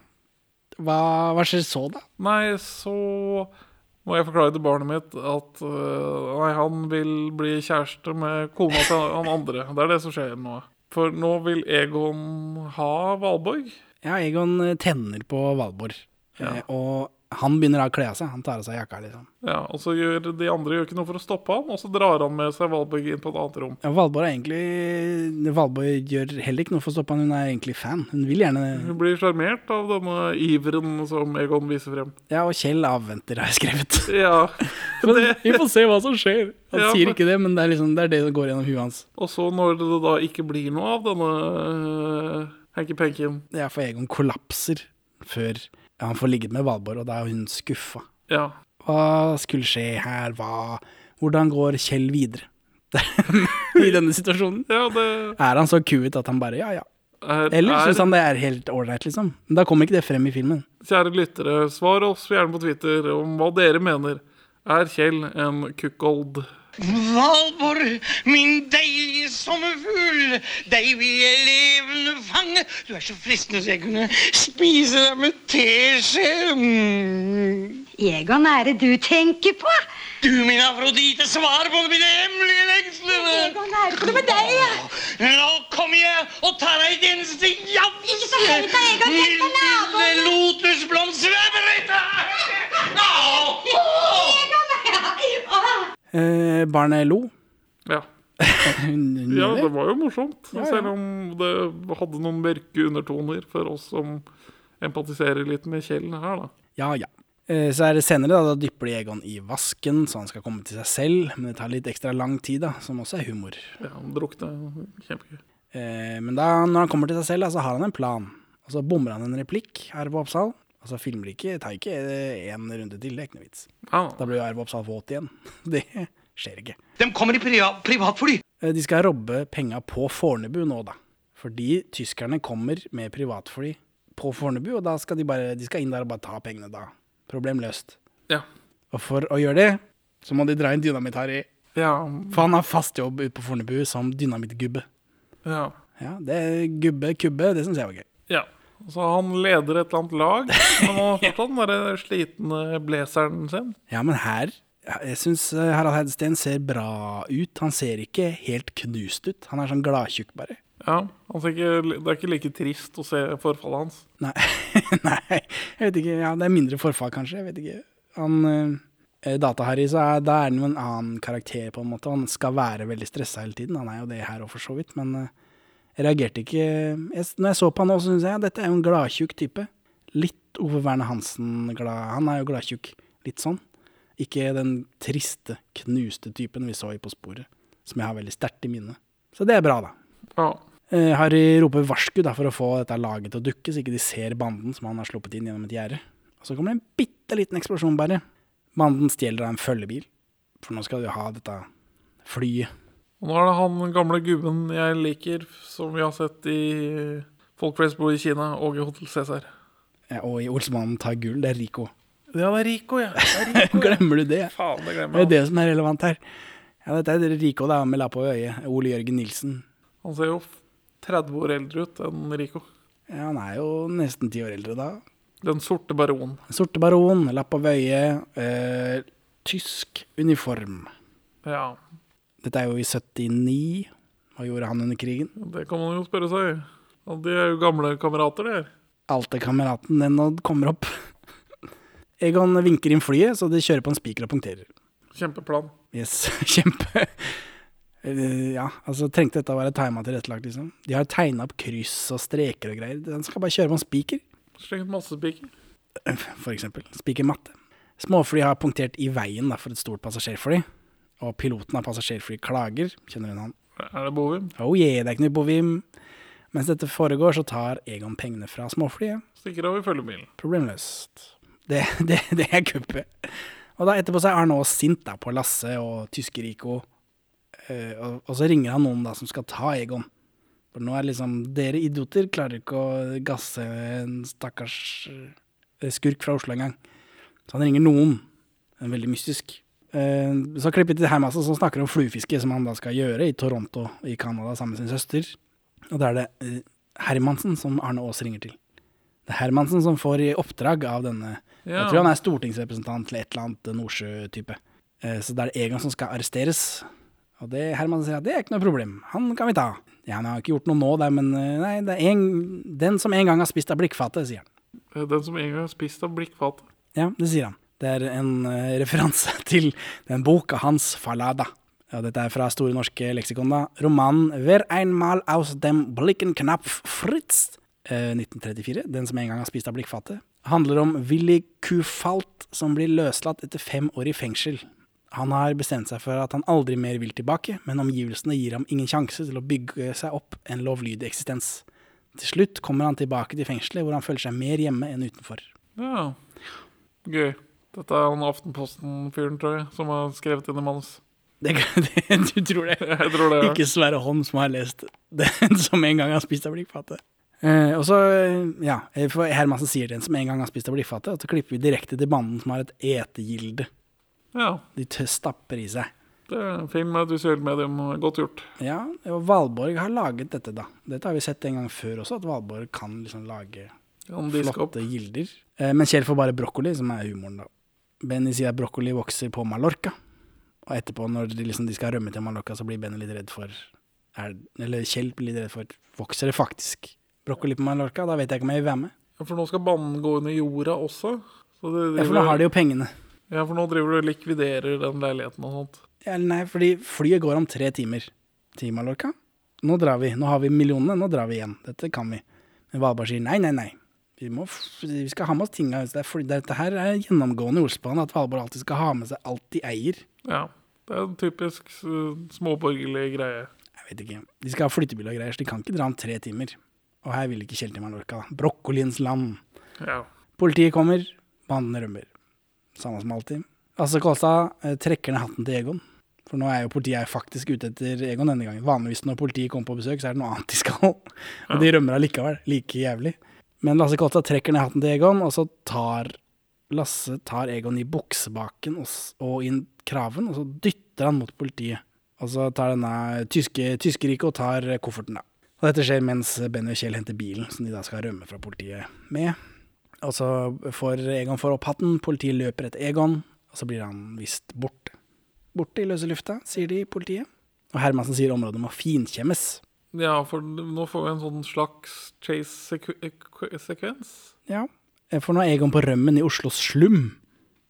Hva, hva skjer så, da? Nei, så må jeg forklare til barnet mitt at øh, nei, han vil bli kjæreste med kona til han andre. Det er det som skjer nå. For nå vil Egon ha Valborg. Ja, Egon eh, tenner på Valborg. Eh, og han begynner da å kle av seg. Han tar av seg jakka, liksom. Ja, Og så gjør de andre gjør ikke noe for å stoppe han, og så drar han med seg Valborg inn på et annet rom. Ja, Valborg er egentlig Valborg gjør heller ikke noe for å stoppe han, hun er egentlig fan. Hun vil gjerne Hun blir sjarmert av denne iveren som Egon viser frem. Ja, og Kjell avventer, har jeg skrevet. Ja, det Vi får se hva som skjer. Han Ja, sier for- ikke det, men det er, liksom, det er det som går gjennom huet hans. Og så når det da ikke blir noe av denne øh, hanky-panken Det er for Egon kollapser før han får ligget med Valborg, og da er hun skuffa. Ja, Hva skulle skje her? Hva Hvordan går Kjell videre <laughs> i denne situasjonen? ja det Er han så kuet at han bare ja, ja? er, Eller er syns han det er helt ålreit, liksom? Men da kommer ikke det frem i filmen. Kjære lyttere, svar oss gjerne på Twitter om hva dere mener. Er Kjell en kukkold? Valborg, min deilige sommerfugl, deg vil jeg levende fange. Du er så fristende så jeg kunne spise deg med teskje. Mm. Egon, hva er det du tenker på? Du, min Afrodite, svar på mine hemmelige lengsler. Egon, hva er det for noe med deg? Ja? Nå kommer jeg og tar deg i et eneste jafs. Ikke så høyt da, Egon. Tenk på naboene. Lille lotusblomst svever etter. Egon, ja. Åh. Eh, barnet lo. <laughs> Ja. Hun, hun ja, gjorde det det. var jo morsomt. Ja, ja. Selv om det hadde noen mørke undertoner for oss som empatiserer litt med Kjell her, da. Ja, ja. Eh, Så er det senere, da, da dypper de Egon i vasken, så han skal komme til seg selv. Men det tar litt ekstra lang tid, da, som også er humor. Ja, han drukne. Kjempegøy. Eh, Men da, når han kommer til seg selv, da, så har han en plan. Og så bommer han en replikk, Arve Oppsal. Og så filmer de ikke, tar ikke én runde til, det er ikke noe vits. Ja, Da blir jo Arve Oppsal våt igjen. <laughs> Det skjer ikke. De kommer i priva privatfly. Eh, De skal robbe penga på Fornebu nå, da. Fordi tyskerne kommer med privatfly på Fornebu, og da skal de bare de skal inn der og bare ta pengene, da. Problem løst. ja. Og for å gjøre det, så må de dra inn dynamitt-Harry. ja. For han har fast jobb ute på Fornebu som dynamittgubbe. Ja. Ja, det er gubbe, kubbe, det syns jeg var gøy. ja. Så han leder et eller annet lag, men han <laughs> har fortsatt den der slitne blazeren sin. Ja, men her ja, Jeg syns eh, Harald Heidsten ser bra ut. Han ser ikke helt knust ut. Han er sånn gladtjukk, bare. Ja, han ser ikke, Det er ikke like trist å se forfallet hans. Nei. <laughs> Nei, jeg vet ikke. Ja, det er mindre forfall, kanskje. Jeg vet ikke. Han eh, Data-Harry, så er, da er han jo en annen karakter, på en måte. Han skal være veldig stressa hele tiden. Han er jo det her òg, for så vidt. Men eh, jeg reagerte ikke jeg, s- Når jeg så på han nå, så syns jeg ja, dette er jo en gladtjukk type. Litt Ove Verne Hansen-glad. Han er jo gladtjukk. Litt sånn. Ikke den triste, knuste typen vi så i På sporet, som jeg har veldig sterkt i minne. Så det er bra, da. Ja, Eh, Harry roper varsku da, for å få dette laget til å dukke, så ikke de ser banden som han har sluppet inn gjennom et gjerde. Og så kommer det en bitte liten eksplosjon, bare. Banden stjeler da en følgebil, for nå skal du ha dette flyet. og Nå er det han gamle gubben jeg liker, som vi har sett i Folk flest bor i Kina og i Hotel Cæsar. Eh, Og i Olsmannen tar gull, det er Rico. <laughs> Ja, det er Rico, ja. Det er <laughs> Rico, ja. Glemmer du det? Faen, det Det er glemmer jo jeg. det som er relevant her. Ja, dette er Rico da, med lappa i øyet. Ole Jørgen Nilsen. Han ser jo 30 år eldre ut enn Rico. Ja, han er jo nesten ti år eldre da. Den sorte baron. Sorte baron, lappa ved øyet, eh, tysk uniform. Ja, Dette er jo i 79. Hva gjorde han under krigen? det kan man jo spørre seg. Ja, de er jo gamle kamerater, det her. Alta-kameraten den nå kommer opp. <laughs> Egon vinker inn flyet, så de kjører på en spiker og punkterer. Kjempeplan. Yes, <laughs> kjempe. Eh, Ja, altså trengte dette å være tima tilrettelagt, liksom. De har tegna opp kryss og streker og greier. Den skal bare kjøre på en spiker, <laughs> Slengt masse spiker. for eksempel. Spikermatte. Småfly har punktert i veien da, for et stort passasjerfly. Og piloten av passasjerflyet klager, kjenner hun han. Er det Bovim? Oh yeah, det er ikke noe bovim. Mens dette foregår, så tar Egon pengene fra småflyet. Stikker av i følgebilen. problemløst. Det, <laughs> det, det er kuppet. Og da etterpå så er han også sint da, på Lasse og Tysker-Rico. Eh, og, og så ringer han noen da som skal ta Egon. For nå er det liksom Dere idioter klarer ikke å gasse en stakkars eh, skurk fra Oslo engang. Så han ringer noen. En veldig mystisk. Eh, så klipper vi til Hermassen som snakker om fluefiske, som han da skal gjøre i Toronto i Canada sammen med sin søster. Og da er det eh, Hermansen som Arne Aas ringer til. Det er Hermansen som får i oppdrag av denne Ja. Jeg tror han er stortingsrepresentant til et eller annet Nordsjø-type. Eh, Så det er det Egon som skal arresteres. Og det Hermansen sier at det er ikke noe problem, han kan vi ta. Ja, han har ikke gjort noe nå, der, men eh, nei, det er en, den som en gang har spist av blikkfatet, sier han. Eh, Den som en gang har spist av blikkfatet. Ja, det sier han. Det er en eh, <laughs> referanse til den boka hans, 'Falada'. Ja, dette er fra Store norske leksikon, da. Romanen 'Hver einmal aus dem blicken knapf fritz', eh, 1934, den som en gang har spist av blikkfatet, handler om Willy Kufalt som blir løslatt etter fem år i fengsel. Han har bestemt seg for at han aldri mer vil tilbake, men omgivelsene gir ham ingen sjanse til å bygge seg opp en lovlydig eksistens. Til slutt kommer han tilbake til fengselet, hvor han føler seg mer hjemme enn utenfor. Ja. Gøy. Dette er han Aftenposten-fyren, tror jeg, som har skrevet inn i manus. Det, kan- <laughs> det, du tror det? Jeg tror det. Ikke Sverre Holm som har lest den som en gang har spist av blikkfatet. Eh, og så, eh, ja, eh, for Hermansen sier den som en gang har spist av blikkfatet, og så klipper vi direkte til banden som har et etegilde. Ja. De tø- stapper i seg. Det er en film med et visuelt medium. Godt gjort. Ja, og Valborg har laget dette, da. Dette har vi sett en gang før også, at Valborg kan liksom lage Kan diske opp. flotte gilder. Eh, men Kjell får bare brokkoli, som er humoren, da. Benny sier at brokkoli vokser på Mallorca. Og etterpå, når de, liksom, de skal rømme til Mallorca, så blir Benny litt redd for er, Eller Kjell blir litt redd for Vokser det faktisk brokkoli på Mallorca? Da vet jeg ikke om jeg vil være med. Ja, For nå skal banen gå under jorda også. Så det Ja, for nå har de jo pengene. ja, for nå driver du og likviderer den leiligheten og sånt. Ja, Eller nei, fordi flyet går om tre timer til Mallorca. Nå drar vi. Nå har vi millionene, nå drar vi igjen. Dette kan vi. Men Valberg sier nei, nei, nei. Vi, må, f- vi skal ha med oss tinga. Det er fly- Dette her er gjennomgående i Olsbanen, at Valborg alltid skal ha med seg alt de eier. Ja. Det er en typisk s- småborgerlig greie. Jeg vet ikke. De skal ha flyttebil og greier, så de kan ikke dra om tre timer. Og her vil ikke Kjell til Mallorca. da. Brokkoliens land. Ja. Politiet kommer, bandene rømmer. Samme som alltid. Asse Kolstad eh, trekker ned hatten til Egon. For nå er jo politiet faktisk ute etter Egon denne gangen. Vanligvis når politiet kommer på besøk, så er det noe annet de skal. Og de rømmer allikevel. Like jævlig. Men Lasse Kolstad trekker ned hatten til Egon, og så tar Lasse tar Egon i buksebaken og, s- og i kraven, og så dytter han mot politiet. Og så tar denne tyske, tyske og tar kofferten, da. Og dette skjer mens Benny og Kjell henter bilen som de da skal rømme fra politiet med. Og så får Altså, Egon får opp hatten, politiet løper etter Egon, og så blir han visst borte. Borte i løse lufta, sier de i politiet. Og Hermansen sier området må finkjemmes. Ja, for nå får vi en sånn slags eh, chase-sekvens. Ja. For nå er Egon på rømmen i Oslos slum.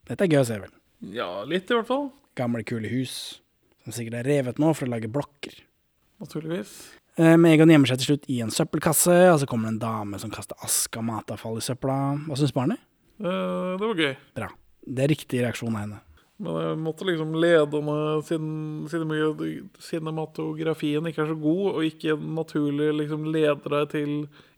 Dette er gøy å se, vel. Ja, litt i hvert fall. Gamle, kule hus, som sikkert er revet nå for å lage blokker. Naturligvis. Eh, Men Egon gjemmer seg til slutt i en søppelkasse, og så kommer det en dame som kaster ask av matavfall i søpla. Hva syns barnet? Eh, det var gøy. Bra. Det er riktig reaksjon av henne. Men jeg måtte liksom lede meg, siden, siden mye cinematografien ikke er så god, og ikke naturlig liksom leder deg til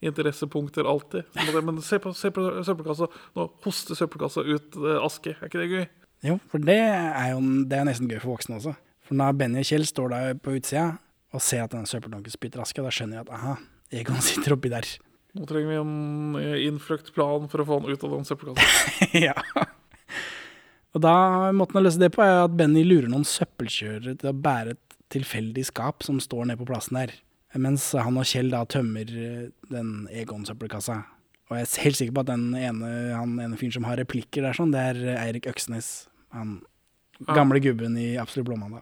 interessepunkter alltid. Så måtte jeg, Men se på, se på søppelkassa. Nå hoster søppelkassa ut eh, aske. Er ikke det gøy? Jo, for det er jo det er nesten gøy for voksne også. For når Benny og Kjell står der på utsida og ser at den søppeldunken spytter aske, da skjønner jeg at aha, Egon <laughs> sitter oppi der. Nå trenger vi en eh, innfløkt plan for å få han ut av den søppelkassa. <laughs> ja. Og da måten å løse det på er at Benny lurer noen søppelkjørere til å bære et tilfeldig skap som står nede på plassen der, mens han og Kjell da tømmer eh, den Egon-søppelkassa. Og jeg er helt sikker på at den ene, han ene fyren som har replikker der, sånn, det er eh, Eirik Øksnes. Han gamle gubben i Absolutt blåmandag.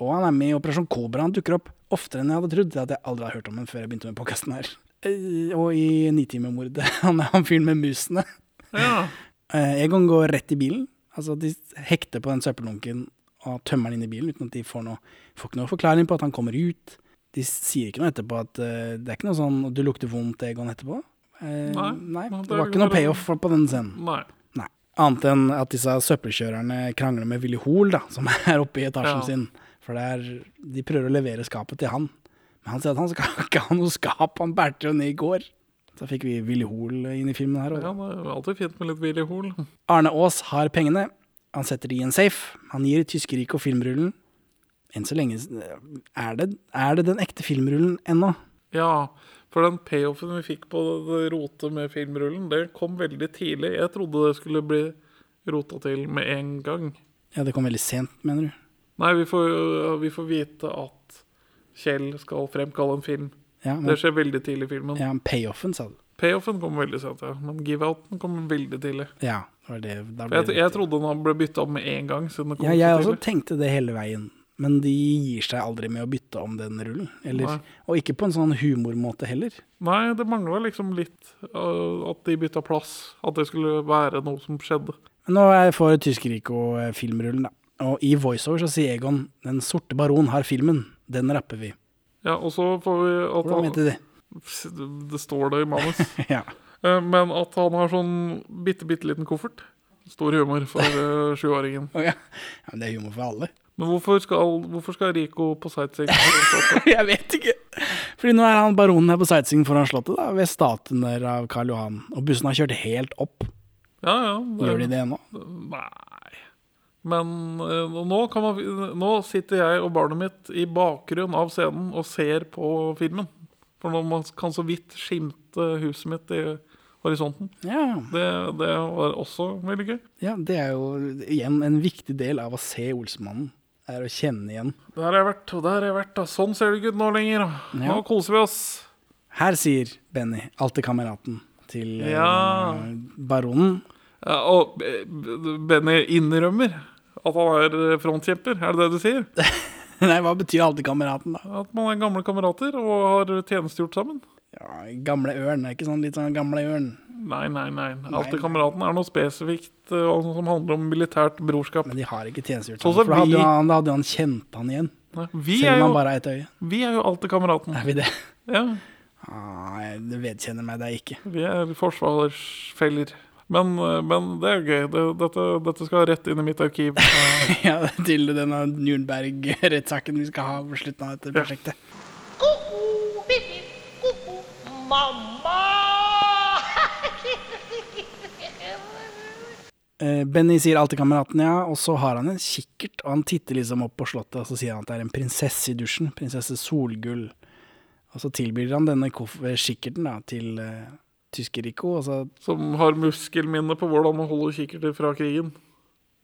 Og han er med i Operasjon Kobra. Han dukker opp oftere enn jeg hadde trodd. Det hadde jeg aldri hørt om ham før jeg begynte med podkasten her. Eh, Og i Nitimermordet. <laughs> Han er han fyren med musene. Ja. Eh, Egon går rett i bilen. Altså, de hekter på den søppeldunken og tømmer den inn i bilen uten at de får noe, får ikke noe forklaring på at han kommer ut. De sier ikke noe etterpå at eh, Det er ikke noe sånn 'du lukter vondt', Egon, etterpå. Eh, Nei, nei. men det Det er var jo ikke noe bare- payoff for- på den scenen. Nei. Nei. Annet enn at disse søppelkjørerne krangler med Willy Hoel, da, som <laughs> er oppe i etasjen Ja. sin. For det er, de prøver å levere skapet til han. Men han sier at han skal <laughs> ikke ha noe skap, han bærte jo ned i går. Så fikk vi Willy Hoel inn i filmen her. Og Ja, det er alltid fint med litt Willy Hoel. Arne Aas har pengene. Han setter de i en safe. Han gir Tyskerriket og filmrullen. Enn så lenge Er det, er det den ekte filmrullen ennå? Ja, for den payoffen vi fikk på det rotet med filmrullen, det kom veldig tidlig. Jeg trodde det skulle bli rota til med en gang. Ja, det kom veldig sent, mener du? Nei, vi får, vi får vite at Kjell skal fremkalle en film. Ja, Det men, skjer veldig tidlig i filmen. ja payoffen, sa du. Payoffen kommer veldig sent, ja. Men give-outen kommer veldig tidlig. Ja, det var det. Da ble Jeg, det- jeg trodde den ble bytta om med en gang. Siden det kom ja, jeg så også tidlig. tenkte det hele veien. Men de gir seg aldri med å bytte om den rullen. Eller, Nei. og ikke på en sånn humormåte heller. Nei, det mangla liksom litt øh, at de bytta plass. At det skulle være noe som skjedde. Men nå er- får Tyskerriket og eh, filmrullen, da. Og i voiceover så sier Egon 'Den sorte baron har filmen'. Den rapper vi. Ja, og så får vi at Hvordan mente du han, <laughs> det? det? det står det i manus. Ja. Eh, Men at han har sånn bitte, bitte liten koffert. Stor humor for eh, sjuåringen. Å ja. ja, men det er humor for alle. Men hvorfor skal, hvorfor skal Rico på sightseeing? <laughs> Jeg vet ikke. Fordi nå er han baronen her på sightseeing foran slottet, da, ved statuen der av Karl Johan. Og bussen har kjørt helt opp. Ja, ja. det- Gjør de det ennå? Nei. Men eh, og nå, kan man, nå sitter jeg og barnet mitt i bakgrunnen av scenen og ser på filmen. For nå man kan så vidt skimte huset mitt i horisonten. Ja. Det, det var også veldig gøy. ja. Det er jo igjen en viktig del av å se Olsmannen. Er å kjenne igjen. Der har jeg vært, og der har jeg vært. Da. Sånn ser det ikke ut nå lenger. Nå Ja. koser vi oss. Her sier Benny, alltid kameraten til eh, Ja. baronen. <laughs> Ja, og B- B- Benny innrømmer at han er eh, frontkjemper, er det det du sier? Nei, hva betyr alltid kameraten, da? At man er gamle kamerater og har tjenestegjort sammen? Ja, gamle ørn, er ikke sånn litt sånn gamle ørn? Nei, nei, nei. Nei. Alltid kameraten er noe spesifikt eh, og noe som handler om militært brorskap. Men de har ikke tjenestegjort Sånn sammen, som for da hadde, vi- jo han, da hadde jo han kjent han igjen. Nei, Vi Selv om er han jo, bare har ett øye. vi er jo alltid kameraten. Er vi det? Ja, Ah, jeg vedkjenner meg deg ikke. <laughs> vi er forsvarsfeller. Men, eh, men det er jo gøy. Det, dette, dette skal rett inn i mitt <laughs> arkiv. Eh, Ja, til denne Nürnberg-rettssaken vi skal ha på slutten av dette prosjektet. Kuku, pip, pip, kuku, mamma! Eh, Benny sier alltid kameraten, ja, og så har han en kikkert, og han titter liksom opp på slottet, og så sier han at det er en prinsesse i dusjen, prinsesse Solgull. Og så tilbyr han denne koff- eh, kikkerten da, til eh, Tysker-Rico, og så som har muskelminne på hvordan man holder kikkerter fra krigen.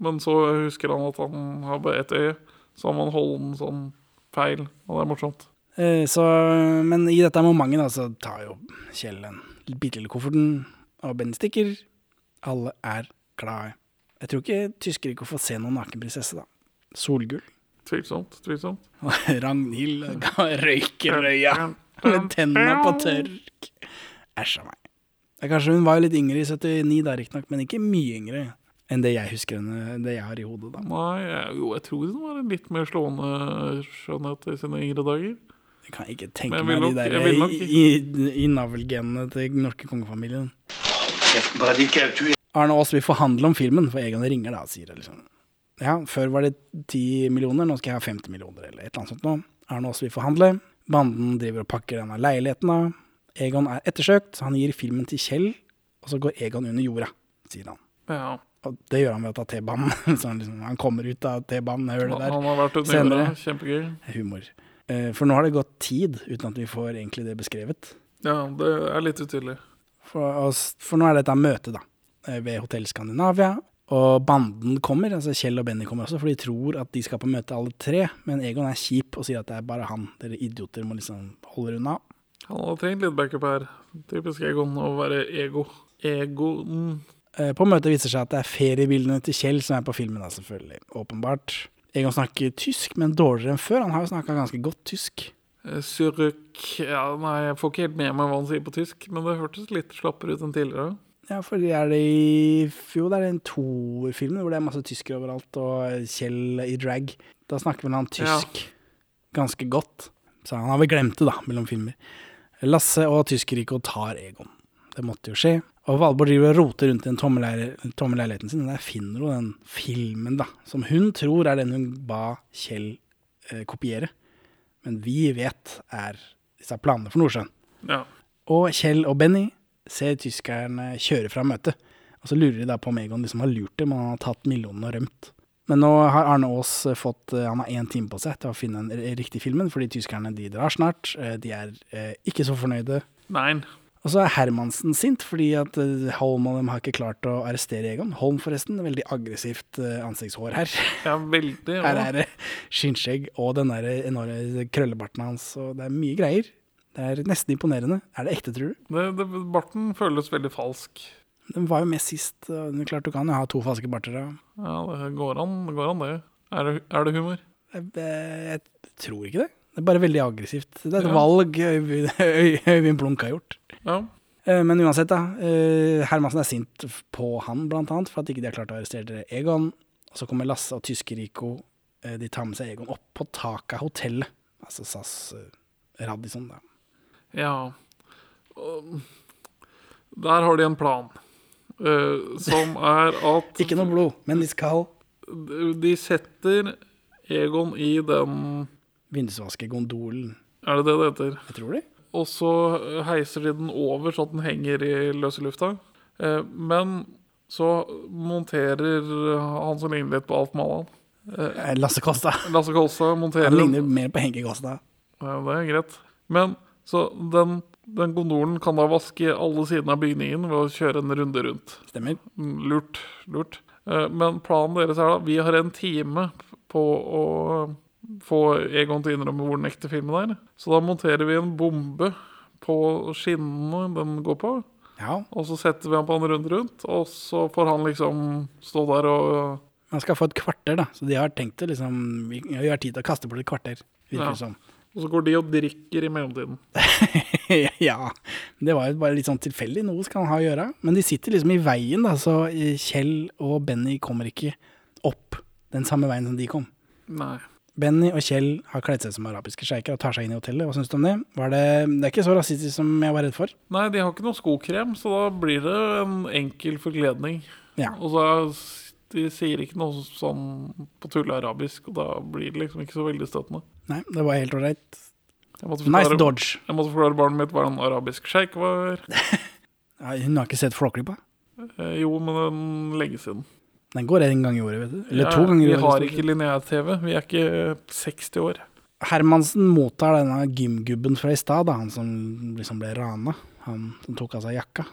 Men så husker han at han har bare ett øye, så han må holde den sånn feil. Og det er morsomt. Eh, Så, men i dette momentet da, så tar jo Kjell den bitte lille kofferten, og Benny stikker. Alle er glade. Jeg tror ikke tyskere ikke får se noen naken prinsesse, da. Solgull. <laughs> Tvilsomt. Tvilsomt. Og Ragnhild røyker øya <laughs> <laughs> med tennene på tørk. Æsj a meg. Ja, Kanskje hun var litt yngre i 79 da, riktignok, men ikke mye yngre enn det jeg husker henne, det jeg har i hodet da. Nei, jeg- jo, jeg tror hun var en litt mer slående skjønnhet i sine yngre dager. Jeg kan ikke tenke meg Men jeg de vil nok- der jeg vil nok- i, i, i navelgenene til den norske kongefamilien. Kjeften på din kautur. Arne Aas vil forhandle om filmen, for Egon ringer da og sier det liksom. Ja, før var det 10 millioner, nå skal jeg ha 50 millioner eller et eller annet sånt nå. Arne Aas vil forhandle. Banden driver og pakker denne leiligheten da. Egon er ettersøkt, så han gir filmen til Kjell, og så går Egon under jorda, sier han. Ja, Og det gjør han ved å ta T-banen. <laughs> Så han, liksom, han kommer ut av T-banen, jeg hører det der. Han har vært under Senere. jorda. Kjempegøy. Humor. Eh, For nå har det gått tid uten at vi får egentlig det beskrevet. Ja, det er litt utydelig. For, oss, for nå er dette møtet, da, eh, ved Hotell Skandinavia. Og banden kommer, altså Kjell og Benny kommer også, for de tror at de skal på møte alle tre. Men Egon er kjip og sier at det er bare han. Dere idioter må liksom holde dere unna. Han hadde trengt litt backup her. Typisk Egon å være ego. Egon Eh, På møtet viser det seg at det er feriebildene til Kjell som er på filmen, da, selvfølgelig. Åpenbart. Egon snakker tysk, men dårligere enn før. Han har jo snakka ganske godt tysk. Syruk Eh, ja, Nei, jeg får ikke helt med meg hva han sier på tysk, men det hørtes litt slappere ut enn tidligere. Ja, for er det i fjor, det er en toerfilm hvor det er masse tyskere overalt, og Kjell i drag. Da snakker vel han tysk ganske godt. Så han har vel glemt det, da, mellom filmer. Lasse og Tyskerriket tar Egon. Det måtte jo skje. Og Valborg driver og roter rundt i den tomme leir- tomme leiligheten sin, og der finner hun den filmen, da, som hun tror er den hun ba Kjell eh, kopiere. Men vi vet er disse planene for Nordsjøen. Ja. Og Kjell og Benny ser tyskerne kjøre fra møtet. Og så lurer de da på om Egon liksom har lurt dem, og han har tatt millionene og rømt. Men nå har Arne Aas fått eh, Han har én time på seg til å finne den r- riktige filmen, fordi tyskerne de drar snart. Eh, De er eh, ikke så fornøyde. Nei. Og så er Hermansen sint fordi at eh, Holm og dem har ikke klart å arrestere Egon. Holm, forresten. Veldig aggressivt eh, ansiktshår her. <laughs> Jeg er veldig Her er det skinnskjegg og den der enorme krøllebarten hans, og det er mye greier. Det er nesten imponerende. Er det ekte, tror du? det, det, Barten føles veldig falsk. Den var jo med sist. og det er Klart du kan jo ha to falske barter. da. Ja, det går an, det. Går an, det. Er, det er det humor? Jeg, jeg, jeg tror ikke det. Det er bare veldig aggressivt. Det er et valg Øyvind Øy- Øyvind Blunk har gjort. Ja. Eh, Men uansett, da. eh, Hermansen er sint f- på han, blant annet, for at ikke de har klart å arrestere Egon. Og så kommer Lasse og Tysker-Rico. Eh, De tar med seg Egon opp på taket av hotellet. Altså SAS eh, Radisson, da. Ja. Og Der har de en plan, eh, som er <laughs> at Ikke noe blod, men de skal de setter Egon i den vindusvaske gondolen. Er det det det heter? Jeg tror det. Og så eh, heiser de den over sånn at den henger i løse lufta. Eh, Men så monterer han som ligner litt på Alf Mallan Eh, Lasse Kåstad. Lasse Kolstad monterer Han ligner mer på Henke Kåstad. Ja, Det er greit. Men så den, den gondolen kan da vaske alle sidene av bygningen ved å kjøre en runde rundt. Stemmer. Mm, Lurt. Lurt. Eh, Men planen deres er da Vi har en time på å få Egon til å innrømme hvor den ekte filmen er. Så da monterer vi en bombe på skinnene den går på. Ja, Og så setter vi han på en runde rundt, og så får han liksom stå der og Man skal få et kvarter, da. Så de har tenkt å liksom Vi vi har tid til å kaste bort et kvarter, virker det Ja. som. <laughs> Og så går de og drikker i mellomtiden. ja. Det var jo bare litt sånn tilfeldig. Noe skal han ha å gjøre. Men de sitter liksom i veien, da, så eh, Kjell og Benny kommer ikke opp den samme veien som de kom. Nei. Benny og Kjell har kledd seg som arabiske sjeiker og tar seg inn i hotellet. Hva syns du om det? Var det? Det er ikke så rasistisk som jeg var redd for. Nei, de har ikke noe skokrem, så da blir det en enkel forkledning. Ja. Og så er s- de sier ikke noe sånn på tullearabisk, og da blir det liksom ikke så veldig støtende. Nei, det var helt ålreit. Jeg måtte Nice forklare, dodge. jeg måtte forklare barnet mitt hva en arabisk sjeik var. Ja, hun har ikke sett Flåklypa. Eh, jo, men en lenge siden. Den går en gang i året, vet du. Eller Ja, to ganger i Vi året. har stort ikke lineær-TV. Vi er ikke 60 år. Hermansen mottar denne gymgubben fra i stad, da, han som liksom ble rana. Han som tok av seg jakka.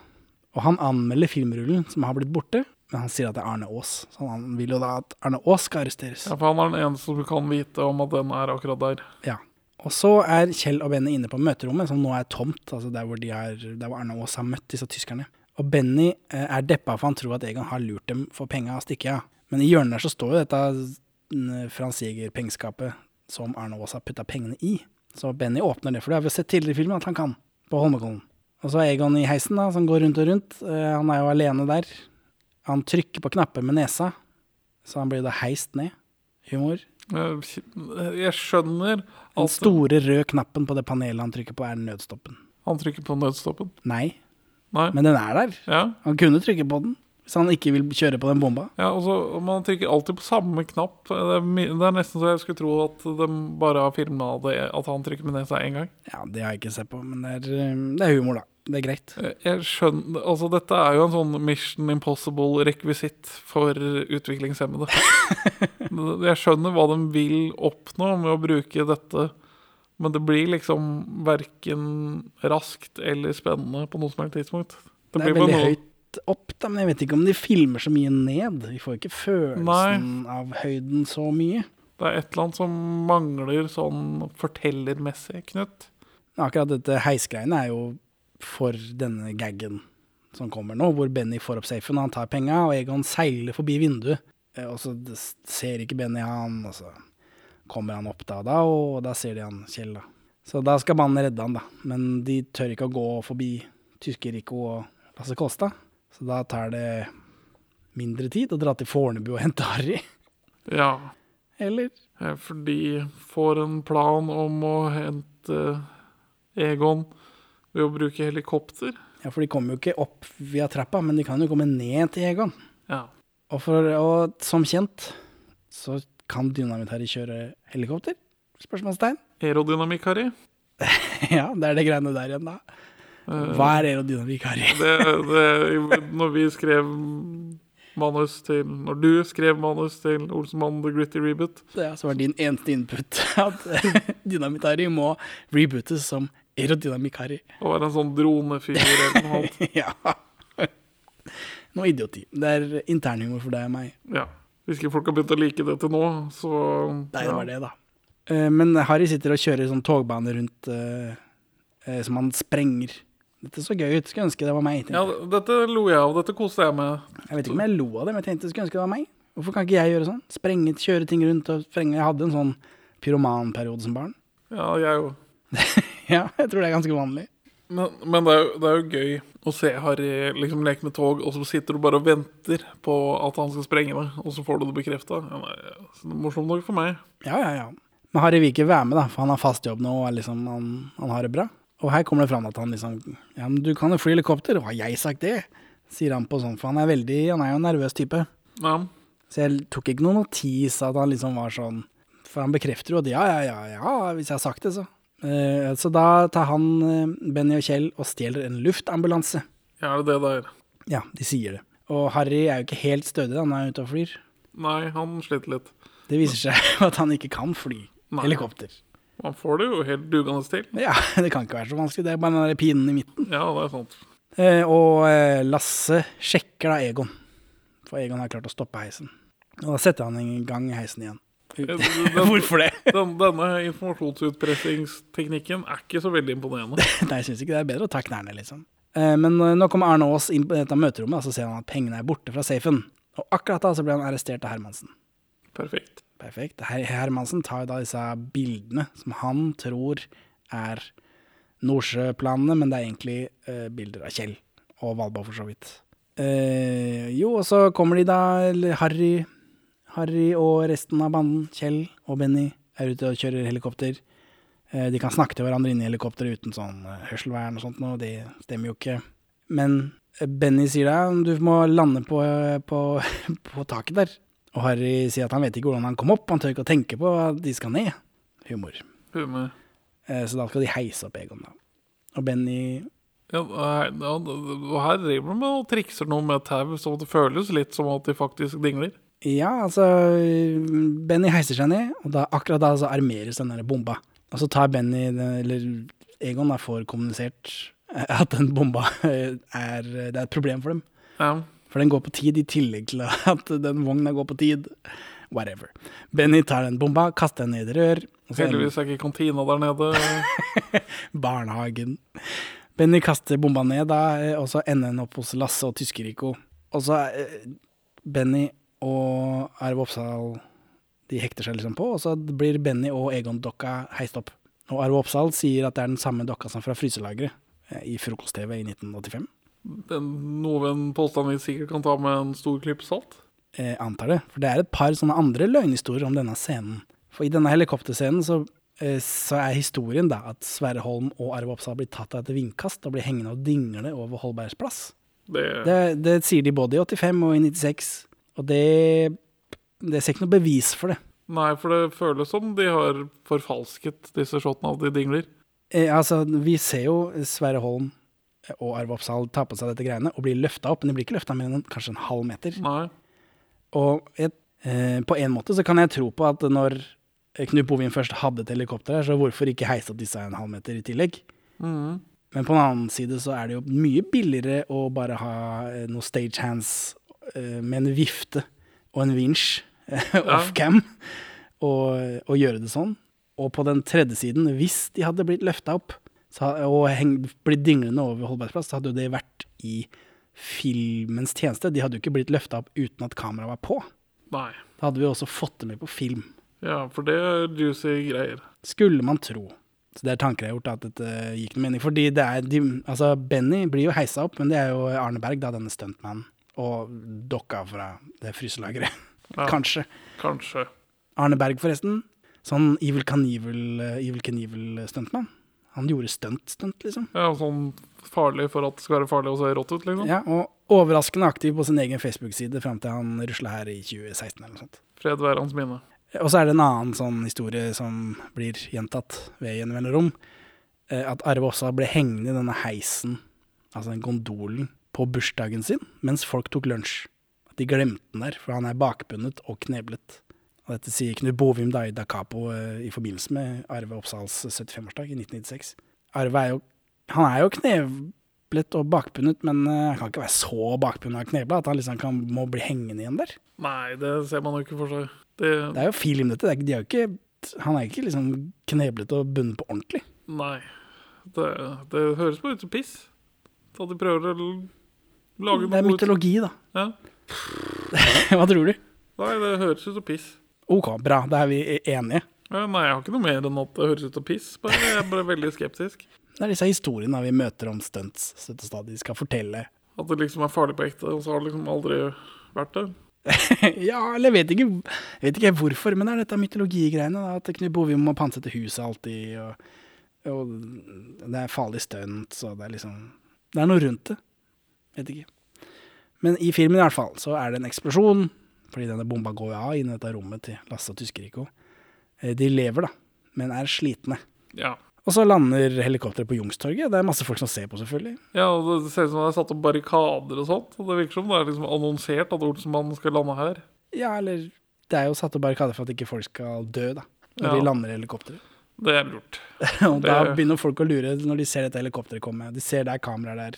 Og han anmelder filmrullen som har blitt borte, men han sier at det er Arne Aas. Så han vil jo da at Arne Aas skal arresteres. Ja, for han er den eneste som kan vite om at den er akkurat der. Ja. Og så er Kjell og Benny inne på møterommet, som nå er tomt, altså der hvor, de har, der hvor Arne og Ås har møtt disse tyskerne. Og Benny eh, er deppa for han tror at Egon har lurt dem for penga og stikke av. Men i hjørnet der så står jo dette mm, Frans Jæger-pengeskapet som Arne Aas har putta pengene i. Så Benny åpner det, for det har vi sett tidligere i filmen at han kan, på Holmenkollen. Og så er Egon i heisen, da, som går rundt og rundt. Eh, han er jo alene der. Han trykker på knapper med nesa, så han blir da heist ned. Humor. Eh, Jeg skjønner Den at store røde knappen på det panelet han trykker på, er nødstoppen. han trykker på nødstoppen. Nei, Nei. men den er der. Ja. Han kunne trykke på den hvis han ikke vil kjøre på den bomba. Ja, og så, og Man trykker alltid på samme knapp. Det er, mi- det er nesten så jeg skulle tro at de bare har filma at han trykker med nesa én gang. Ja, Det har jeg ikke sett på, men det er, eh, det er humor, da. Det er greit. Eh, Jeg skjønner, altså Dette er jo en sånn Mission Impossible-rekvisitt <laughs> for utviklingshemmede. Jeg skjønner hva de vil oppnå med å bruke dette, men det blir liksom verken raskt eller spennende på noe som helst tidspunkt. Det blir er bare veldig noe- høyt opp, da, men jeg vet ikke om de filmer så mye ned. Vi får ikke følelsen av høyden så mye. Det er et eller annet som mangler sånn fortellermessig, Knut. Men Akkurat dette heisgreiene er jo for denne gaggen som kommer nå, hvor Benny får opp safen, han tar penga, og Egon seiler forbi vinduet. Eh, Og så d- ser ikke Benny han, og så kommer han opp da og da, og da ser de han Kjell, da. Så da skal mannen redde han, da. Men de tør ikke å gå forbi Tysker-Rico og Lasse Kolstad. Så da tar det mindre tid å dra til Fornebu og hente Harry. Ja, Eller Eh, For de får en plan om å hente eh, Egon ved å bruke helikopter. Ja, for de kommer jo ikke opp via trappa, men de kan jo komme ned til Egon. Ja. Og, for, og som kjent så kan Dynamitt-Harry kjøre helikopter? Spørsmålstegn. <laughs> Aerodynamikk, Harry. Ja, det er det greiene der igjen, da. Hva er <laughs> aerodynamikk-Harry? Det, det, når vi skrev manus til Når du skrev manus til Olsenmannen The Gritty Reboot Ja, så var altså din eneste input <laughs> at Dynamitt-Harry må rebootes som aerodynamikk-Harry. og være en sånn dronefyr eller noe annet. <laughs> Ja. Noe idioti. Det er internhumor for deg og meg. Ja. Hvis ikke folk har begynt å like det til nå, så Nei, det ja. var det, da. Eh, Men Harry sitter og kjører sånn togbane rundt eh, eh, som han sprenger. Dette så gøy ut. Skulle ønske det var meg. tenkte Ja, dette lo jeg av. Dette koste jeg med. Jeg vet ikke om jeg lo av det, men jeg tenkte jeg skulle ønske det var meg. Hvorfor kan ikke jeg gjøre sånn? Sprenge, kjøre ting rundt og sprenge. Jeg hadde en sånn pyromanperiode som barn. <laughs> Ja, jeg òg. Ja, jeg tror det er ganske vanlig. Men, men det, er jo, det er jo gøy å se Harry liksom leke med tog, og så sitter du bare og venter på at han skal sprenge det, og så får du det bekrefta. Ja, nei, så det er morsomt nok for meg. Ja, ja, ja. Men Harry vil ikke være med, da, for han har fast jobb nå og er liksom, han, han har det bra. Og her kommer det fram at han liksom Ja, men du kan jo fly helikopter. Har jeg sagt det? Sier han på sånn, for han er veldig Han er jo en nervøs type. Ja, Så jeg tok ikke noen notis av at han liksom var sånn For han bekrefter jo at ja, ja, ja, ja, hvis jeg har sagt det, så. Eh, så da tar han, eh, Benny og Kjell, og stjeler en luftambulanse. ja, er det det der? Ja, de sier det. Og Harry er jo ikke helt stødig, han er ute og flyr. Nei, han sliter litt. Det viser seg <laughs> at han ikke kan fly Nei. helikopter. Han får det jo helt dugende til. Ja, <laughs> det kan ikke være så vanskelig, det er bare den der pinen i midten. Ja, det er sant. Eh, og eh, Lasse sjekker da Egon, for Egon har klart å stoppe heisen. Og da setter han i gang heisen igjen. Den, <laughs> Hvorfor det? den, denne informasjonsutpressingsteknikken er ikke så veldig imponerende. <laughs> Nei, jeg syns ikke det er bedre å ta knærne, liksom. Eh, Men eh, nå kommer Arne Aas inn på dette møterommet, og så ser han at pengene er borte fra safen. Og akkurat da så blir han arrestert av Hermansen. Perfekt. Perfekt. Her Hermansen tar jo da disse bildene som han tror er Nordsjøplanene, men det er egentlig eh, bilder av Kjell og Valborg, for så vidt. Eh, jo, og så kommer de da, eller Harry, Harry og resten av banden, Kjell og Benny, er ute og kjører helikopter. Eh, de kan snakke til hverandre inne i helikopteret uten sånn eh, hørselvern og sånt noe, det stemmer jo ikke. Men eh, Benny sier da du må lande på, eh, på, <laughs> på taket der. Og Harry sier at han vet ikke hvordan han kom opp, han tør ikke å tenke på at de skal ned. Humor. Humor. Eh, Så da skal de heise opp Egon, da. Og Benny Ja, nei, ja, og her driver de med og trikser noe med tau, så det føles litt som at de faktisk dingler. Ja, altså Benny heiser seg ned, og da, akkurat da så armeres den der bomba. Og så tar Benny, eller Egon, da får kommunisert eh, at den bomba <laughs> eh, er Det er et problem for dem. Ja. For den går på tid, i tillegg til at den vogna går på tid. Whatever. Benny tar den bomba, kaster den ned i rør. og så ender- Heldigvis er ikke kantina der nede. <laughs> Barnehagen. Benny kaster bomba ned, da, eh, og så ender han opp hos Lasse og Tyskeriko. Og så eh, Benny og Arve Oppsal de hekter seg liksom på, og så blir Benny og Egon-dokka heist opp. Og Arve Oppsal sier at det er den samme dokka som fra fryselageret eh, i Frokost-TV i 1985. Den, noe en påstand vi sikkert kan ta med en stor klype salt. Eh, antar det. For det er et par sånne andre løgnhistorier om denne scenen. For i denne helikopterscenen så, eh, så er historien da at Sverre Holm og Arve Oppsal blir tatt av et vindkast og blir hengende og dingle over Holbergs plass. Det, Det, det sier de både i 85 og i 96, og det Det ser ikke noe bevis for det. Nei, for det føles som de har forfalsket disse shotene av at de dingler. Eh, altså, vi ser jo Sverre Holm og Arve Oppsal ta på seg dette greiene og blir løfta opp, men de blir ikke løfta mer enn kanskje en halv meter. Nei. Og jeg, eh, på en måte så kan jeg tro på at når Knut Bovin først hadde et helikopter her, så hvorfor ikke heise opp disse en halv meter i tillegg? Men på den annen side så er det jo mye billigere å bare ha eh, noen stagehands eh, med en vifte og en <laughs> vinsj offcam, og, og gjøre det sånn. Og på den tredje siden, hvis de hadde blitt løfta opp så, ha- og heng, blitt dinglende over Holbergs plass, så hadde jo det vært i filmens tjeneste. De hadde jo ikke blitt løfta opp uten at kameraet var på. Nei. Da hadde vi også fått det med på film, Ja, for det er juicy greier. skulle man tro. Så det er tanker jeg har gjort, at dette gikk noe mening. Fordi det er de, Altså, Benny blir jo heisa opp, men det er jo Arne Berg, da, denne stuntmannen. Og dokka fra det fryselageret. <laughs> Kanskje. Kanskje. Arne Berg, forresten. Sånn Evil Knievel, eh, Evil Knievel-stuntmann. Han gjorde stunt-stunt, liksom. Ja, sånn farlig for at det skal være farlig å se rått ut, liksom. Ja, og overraskende aktiv på sin egen Facebook-side fram til han rusla her i 2016 eller noe sånt. Fred være hans minne. Og så er det en annen sånn historie som blir gjentatt ved gjenvendende rom. eh, At Arve også ble hengende i denne heisen, altså den gondolen, på bursdagen sin mens folk tok lunsj. At de glemte den der, for han er bakbundet og kneblet. Og dette sier Knut Bovim da i Da Capo eh, i forbindelse med Arve Oppsals 75-årsdag i 1996. Arve er jo Han er jo kneblet og bakbundet, men eh, han kan ikke være så bakbundet og knebla at han liksom kan, må bli hengende igjen der. Nei, det ser man jo ikke for seg. Det, Det er jo film, dette. Det er, ikke- de er jo ikke, han er ikke liksom kneblet og bundet på ordentlig. Nei. Det, det høres bare ut som piss. At de prøver å l- lage Det er noe ut- mytologi, da. <laughs> Ja. Hva tror du? Nei, det høres ut som piss. OK, bra. Da er vi enige. Ja, Nei, jeg har ikke noe mer enn at det høres ut som piss. Bare, jeg er bare veldig skeptisk. Det er disse historiene vi møter om stunts støtt og stadig skal fortelle. At det liksom er farlig på ekte, og så har det liksom aldri vært det. <laughs> ja, eller jeg vet ikke, jeg vet ikke hvorfor, men det er dette mytologigreiene. da, At Knut Bovim må pantsette huset alltid, og, og det er farlig stunt, så det er liksom Det er noe rundt det. Vet ikke. Men i filmen i hvert fall, så er det en eksplosjon, fordi denne bomba går jo av inn i dette rommet til Lasse og Tyskeriko. Eh, De lever, da, men er slitne. Ja. Og så lander helikopteret på Youngstorget. Det er masse folk som ser på, selvfølgelig. ja, og Det ser ut som det er satt opp barrikader og sånt. Og det virker som det er liksom annonsert at Olsenmannen skal lande her. Ja, eller Det er jo satt opp barrikader for at ikke folk skal dø, da, når Ja. de lander helikopteret. Det er lurt. <laughs> Og da Det- begynner folk å lure når de ser dette helikopteret komme. De ser det er kameraer der.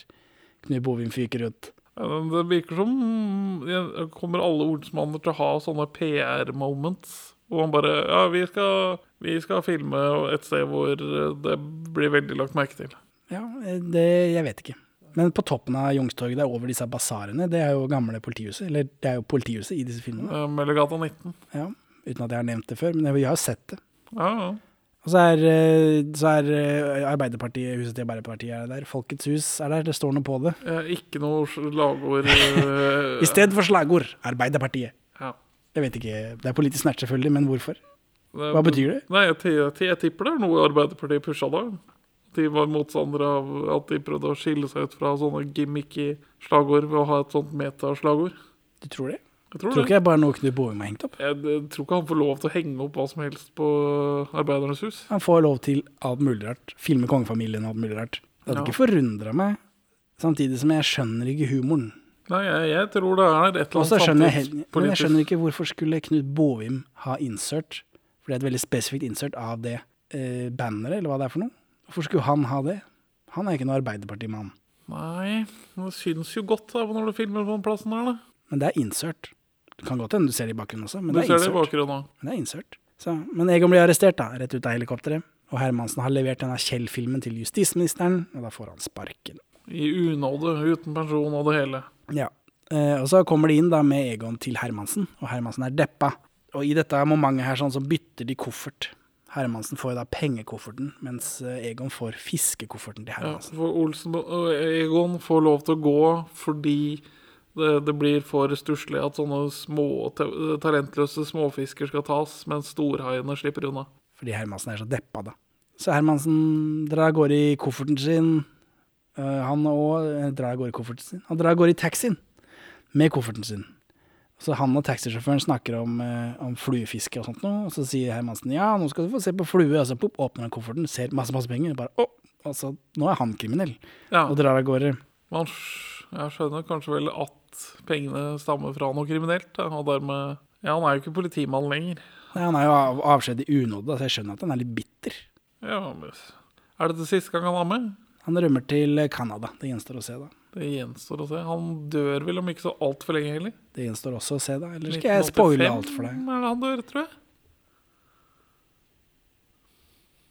Knut Bovim fyker ut. Ja, men Det virker som mm, ja, Kommer alle ordsmanner til å ha sånne PR-moments? Hvor man bare Ja, vi skal, vi skal filme et sted hvor det blir veldig lagt merke til. Ja, eh, det Jeg vet ikke. Men på toppen av Youngstorget, der over disse basarene, det er jo gamle politihuset. Eller det er jo politihuset i disse filmene. Eh, Møllergata 19. Ja, uten at jeg har nevnt det før, men jeg har jo sett det. Ja, ja. Og så er, eh, så er eh, Arbeiderpartiet, huset til Arbeiderpartiet er der. Folkets hus er der, det står noe på det. Eh, Ikke noe slagord eh, <laughs> I stedet for slagord Arbeiderpartiet. ja. Jeg vet ikke, det er politisk snert selvfølgelig, men hvorfor? Det- Hva betyr det? Nei, jeg, ti- jeg, ti- jeg tipper det er noe Arbeiderpartiet pusha da. De var motstandere av at de prøvde å skille seg ut fra sånne gimmicky slagord ved å ha et sånt metaslagord. Du tror det? Jeg tror, Tror det. ikke det er bare noe Knut Bovim har hengt opp? Jeg, jeg tror ikke han får lov til å henge opp hva som helst på Arbeidernes hus. Han får lov til alt mulig rart. Filme kongefamilien og alt mulig rart. Det hadde Ja. ikke forundra meg, samtidig som jeg skjønner ikke humoren. Nei, jeg, jeg tror det er et Og eller så annet skjønner Altså, jeg, he- men jeg samtidspolitisk- skjønner ikke hvorfor skulle Knut Bovim ha insert, for det er et veldig spesifikt insert av det eh, banneret, eller hva det er for noe. Hvorfor skulle han ha det? Han er ikke noen Arbeiderpartimann. Nei, det syns jo godt da, når du filmer på den plassen der, da. Men det er insert. Det kan godt hende du ser det i bakgrunnen også, men Du det er ser det i innsørt. bakgrunnen òg. Men det er innsørt. Så, men Egon blir arrestert, da, rett ut av helikopteret. Og Hermansen har levert denne Kjell-filmen til justisministeren, og da får han sparken. I unåde, uten pensjon og det hele. Ja. Eh, og så kommer de inn da med Egon til Hermansen, og Hermansen er deppa. Og i dette momentet her sånn så bytter de koffert. Hermansen får jo da pengekofferten, mens eh, Egon får fiskekofferten til Ja, Hermansen. Altså, for Olsen og Egon får lov til å gå fordi det, det blir for stusslig at sånne små, ta- talentløse småfisker skal tas, mens storhaiene slipper unna. Fordi Hermansen er så deppa, da. Så Hermansen drar av gårde i kofferten sin. Eh, han òg drar av gårde i kofferten sin. Han drar av gårde i taxien med kofferten sin. Så han og taxisjåføren snakker om, eh, om fluefiske og sånt noe, og så sier Hermansen ja, nå skal du få se på flue, og så pop, åpner han kofferten, ser masse, masse penger, og bare å, og så nå er han kriminell, Ja, og drar av gårde. man sk- jeg skjønner kanskje vel at pengene stammer fra noe kriminelt, da, og dermed Ja, han er jo ikke politimann lenger. Nei, han er jo av, avskjed i unåde, så jeg skjønner at han er litt bitter. Ja, men Er dette siste gang han er med? Han rømmer til Canada, det gjenstår å se da. Det gjenstår å se. Han dør vel om ikke så altfor lenge heller. Det gjenstår også å se da, eller skal jeg spoile alt for deg? 1985 Er det han dør, tror jeg?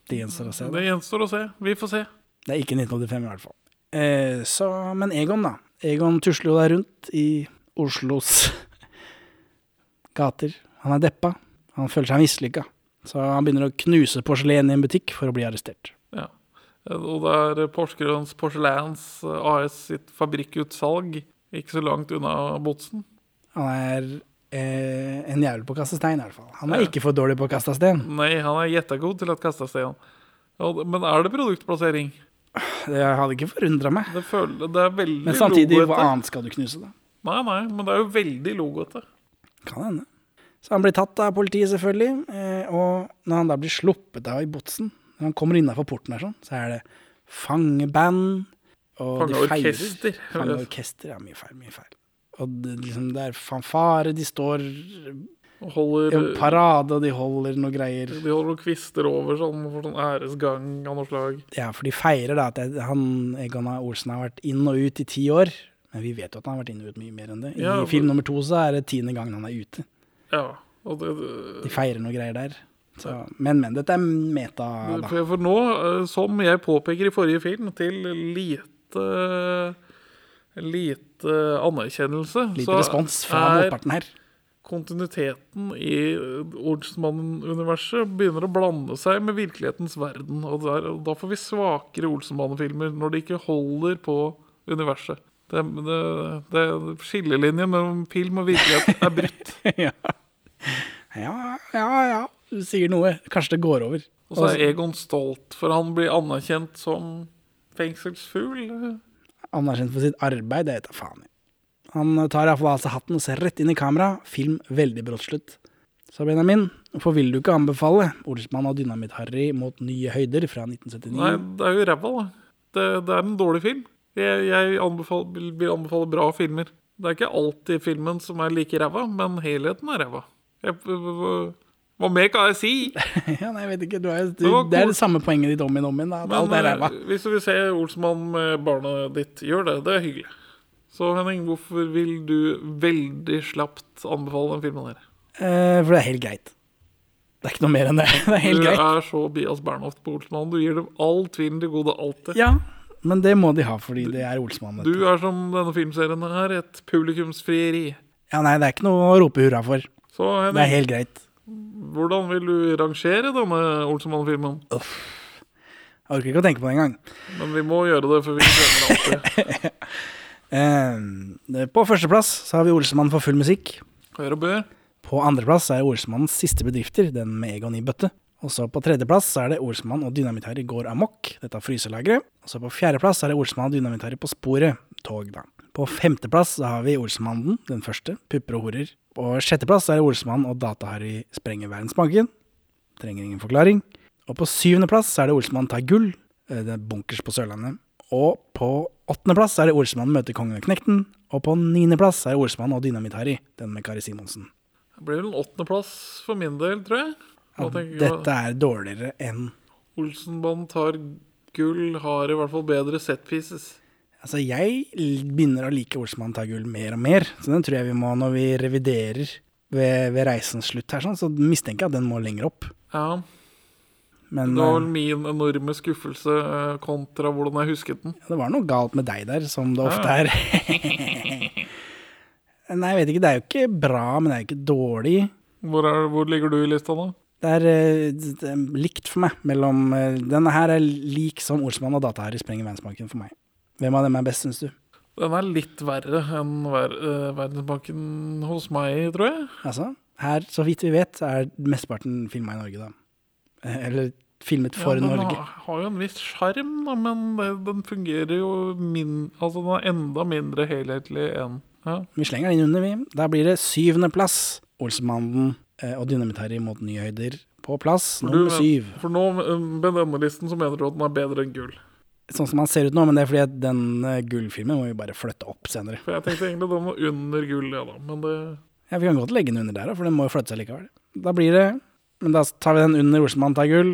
Det gjenstår å se da. Det gjenstår å se. Vi får se. Det er ikke 1985 i hvert fall. Eh, så, men Egon, da. Egon tusler jo der rundt i Oslos <laughs> gater. Han er deppa. Han føler seg mislykka. Så han begynner å knuse porselen i en butikk for å bli arrestert. Ja. Og det er Porsgrunns Porselans AS sitt fabrikkutsalg ikke så langt unna Botsen. Han er eh, en jævel på å kaste stein, i hvert fall. Han er ikke for dårlig på å kaste stein. Nei, han er gjettegod til å kaste stein. Og- Men er det produktplassering? Det hadde ikke forundra meg. Det, føler, det er veldig Men samtidig, hva logoete. annet skal du knuse, da? Nei, nei, men det er jo veldig logoete. Kan hende. Så han blir tatt av politiet, selvfølgelig. eh, Og når han da blir sluppet av i botsen, når han kommer innafor porten her sånn, så er det fangeband og de feirer. Fangeorkester. Fangeorkester. Ja, mye feil, mye feil. Og det, liksom, det er fanfare, de står i Og holder, en parade, og de holder noe greier. de holder noen kvister over sånn for sånn æresgang av noe slag. Ja, for de feirer da at det- han Egon Olsen har vært inn og ut i ti år. Men vi vet jo at han har vært inn og ut mye mer enn det. I Ja, for- film nummer to så er det tiende gangen han er ute. Ja. Og det, det, De feirer noe greier der. Så, men, men. Dette er meta, da. For, for nå, eh, som jeg påpeker i forrige film, til lite Lite anerkjennelse, Lite så respons fra er motparten her. <laughs> kontinuiteten i Olsenmannen-universet begynner å blande seg med virkelighetens verden. Og, der, og da får vi svakere Olsenmannen-filmer, når de ikke holder på universet. Det, det, det Skillelinjen mellom film og virkelighet er <laughs> brutt. ja. ja, ja, ja. Du sier noe. Kanskje det går over. Og så er Egon stolt, for han blir anerkjent som fengselsfugl. Anerkjent for sitt arbeid, det vet jeg faen i. Han tar iallfall av seg hatten og ser rett inn i kamera. Film veldig brått slutt. Så Benjamin, hvorfor vil du ikke anbefale 'Olsmann og Dynamitt-Harry mot nye høyder' fra 1979? Nei, det er jo ræva, da. Det, det er en dårlig film. Jeg, jeg anbefal- vil, vil anbefale bra filmer. Det er ikke alltid filmen som er like ræva, men helheten er ræva. Jeg- hva- Hva mer kan jeg <laughs> si? <laughs> ja, nei, jeg vet ikke. Du er, du, Det var det er cool. det samme poenget ditt om igjen og om igjen. da, at Men Alt er ræva. eh, hvis du vil se Olsmann med barnet ditt, gjør det. Det er hyggelig. Så Henning, hvorfor vil du veldig slapt anbefale den filmen her? Eh, for det er helt greit. Det er ikke noe mer enn det. <laughs> Det er helt du greit. er så Bias Bernhoft på Olsmann. Du gir dem all tvilen til gode, alltid. Ja, men det må de ha, fordi det er Olsmann. vet Du er som denne filmserien her, et publikumsfrieri. Ja, nei, det er ikke noe å rope hurra for. Så Det er Henning, helt greit. Hvordan vil du rangere denne Olsenmann-filmen? Jeg orker ikke å tenke på det engang. Men vi må gjøre det, for vi glemmer alltid. Eh, på førsteplass så har vi Olsemann for full musikk. Hør og bør. På andreplass er Olsemannens siste bedrifter, den med Egon i bøtte. Og så på tredjeplass så er det Olsemann og Dynamitt-Harry går amok, dette er fryselageret. Og så på fjerdeplass er det Olsemann og Dynamitt-Harry på sporet, tog da. På femteplass så har vi Olsemannen, den første, pupper og horer. På sjetteplass er det Olsemann og Data-Harry sprenger verdensbanken. Trenger ingen forklaring. Og på syvendeplass så er det Olsemann tar gull, eh, det er bunkers på Sørlandet. Og på åttendeplass så er det Olsemann møter kongen og knekten. Og på niendeplass er det Olsemann og Dynamitt-Harry, den med Kari Simonsen. Det blir vel en åttendeplass for min del, tror jeg. Da tenker jeg Dette er dårligere enn Olsenbanen tar gull, har i hvert fall bedre set pieces. Altså, jeg begynner å like Olsmann Tagul mer og mer, så den tror jeg vi må, når vi reviderer ved, ved reisens slutt her, sånn, så mistenker jeg at den må lenger opp. Ja. Men Det var vel eh, min enorme skuffelse eh, kontra hvordan jeg husket den. det var noe galt med deg der, som det ofte er. <laughs> Nei, jeg vet ikke. Det er jo ikke bra, men det er jo ikke dårlig. Hvor, er, hvor ligger du i lista nå? Det er, eh, det er likt for meg mellom eh, Denne her er lik som Olsmann og Dataherre sprenger verdensbanken for meg. Hvem av dem er best, syns du? Den er litt verre enn ver eh, Verdensbanken hos meg, tror jeg. Altså, her, så vidt vi vet, er mesteparten filma i Norge, da. Eh, Eller filmet for ja, den Norge. Har, har jo en viss sjarm, da, men det, den fungerer jo min, altså den er enda mindre helhetlig enn ja. Vi slenger den inn under, vi. Da blir det syvendeplass. Olsemannen eh, og Dynamitharry mot nye høyder på plass nummer syv. For nå, eh, med denne listen, så mener du at den er bedre enn gull. Sånn som han ser ut nå, men det er fordi at den eh, gullfilmen må vi bare flytte opp senere. For jeg tenkte egentlig den var under gull, ja da. Men det Ja, Vi kan godt legge den under der, da, for den må jo flytte seg likevel. Da blir det Men da tar vi den under Olsemannen tar gull.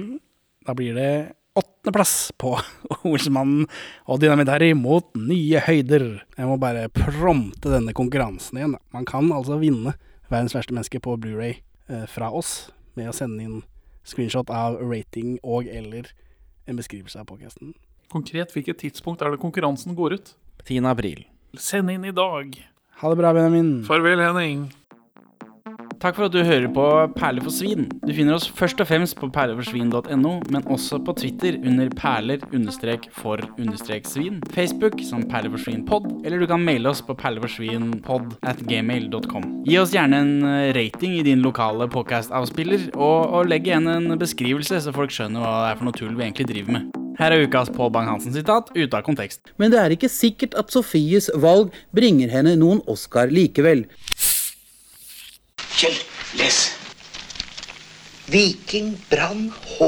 Da blir det åttendeplass på <laughs> Olsemannen og Dynamitari mot nye høyder. Jeg må bare prompte denne konkurransen igjen. da. Man kan altså vinne Verdens verste menneske på Blu-ray eh, fra oss med å sende inn screenshot av rating og eller en beskrivelse av podkasten. Konkret hvilket tidspunkt er det konkurransen går ut? 10. april. Send inn i dag. Ha det bra, Benjamin. Farvel, Henning. Takk for at du hører på Perler for svin. Du finner oss først og fremst på perleforsvin.no, men også på Twitter under perler-for-svin, Facebook som perleforsvinpod, eller du kan maile oss på perleforsvinpod at gmail.com. Gi oss gjerne en eh, rating i din lokale podcast-avspiller, og, og legg igjen en beskrivelse, så folk skjønner hva det er for noe tull vi egentlig driver med. Her er ukas Pål Bang-Hansen-sitat ute av kontekst. Men det er ikke sikkert at Sofies valg bringer henne noen Oscar likevel. Kjell, les. Viking Brann H.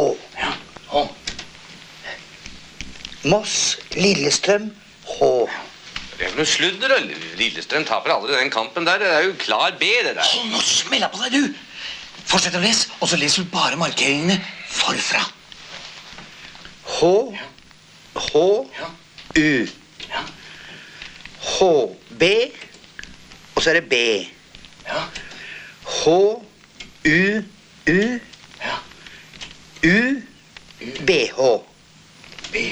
H. Moss Lillestrøm H. Det er vel noe sludder, eller? Lillestrøm taper aldri den kampen der. Det er jo klar B, det der. Hold nå smella på deg, du! Fortsett å lese, og så leser du bare markeringene forfra. H. H. U. HB. Og så er det B. H. U. U. U. BH. B.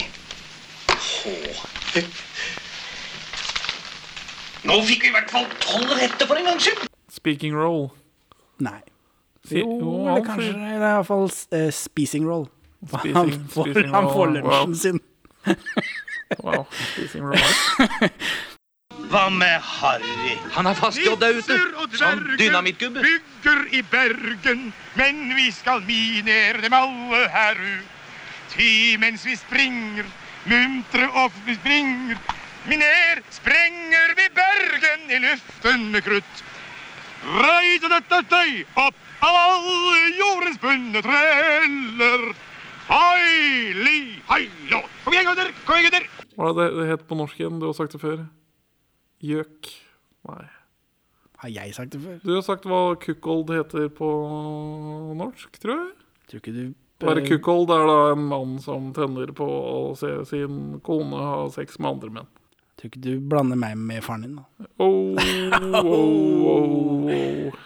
Nå fikk vi i hvert fall tolv rette for en gangs skyld. Speaking roll. Nei. Si- jo, jo, eller han kanskje sier- nei, Det er iallfall uh, spising roll. Spising- <laughs> han får, spising han får roll, wow. lunsjen sin. Wow. Speaking roll. Hva med Harry? Han er fast jodda ute. Som dynamittgubbe. bygger i Bergen, men vi skal minere dem alle her ut. Ty mens vi springer, muntre og vi springer, miner, sprenger vi Bergen i luften med krutt. Reise dette tøy opp av alle jordens bunne treller. Hei, li, hei, lå. Kom igjen, gutter! Kom igjen, gutter! Hva er det det het på norsk igjen? Du har sagt det før. Gjøk. Nei. Har jeg sagt det før? Du har sagt hva kukkold heter på norsk, tror jeg. Tror ikke du eh, Bare kukkold er da en mann som tenner på å se sin kone ha sex med andre menn. Tror ikke du blander meg med faren din, da. Oh, oh, oh, oh.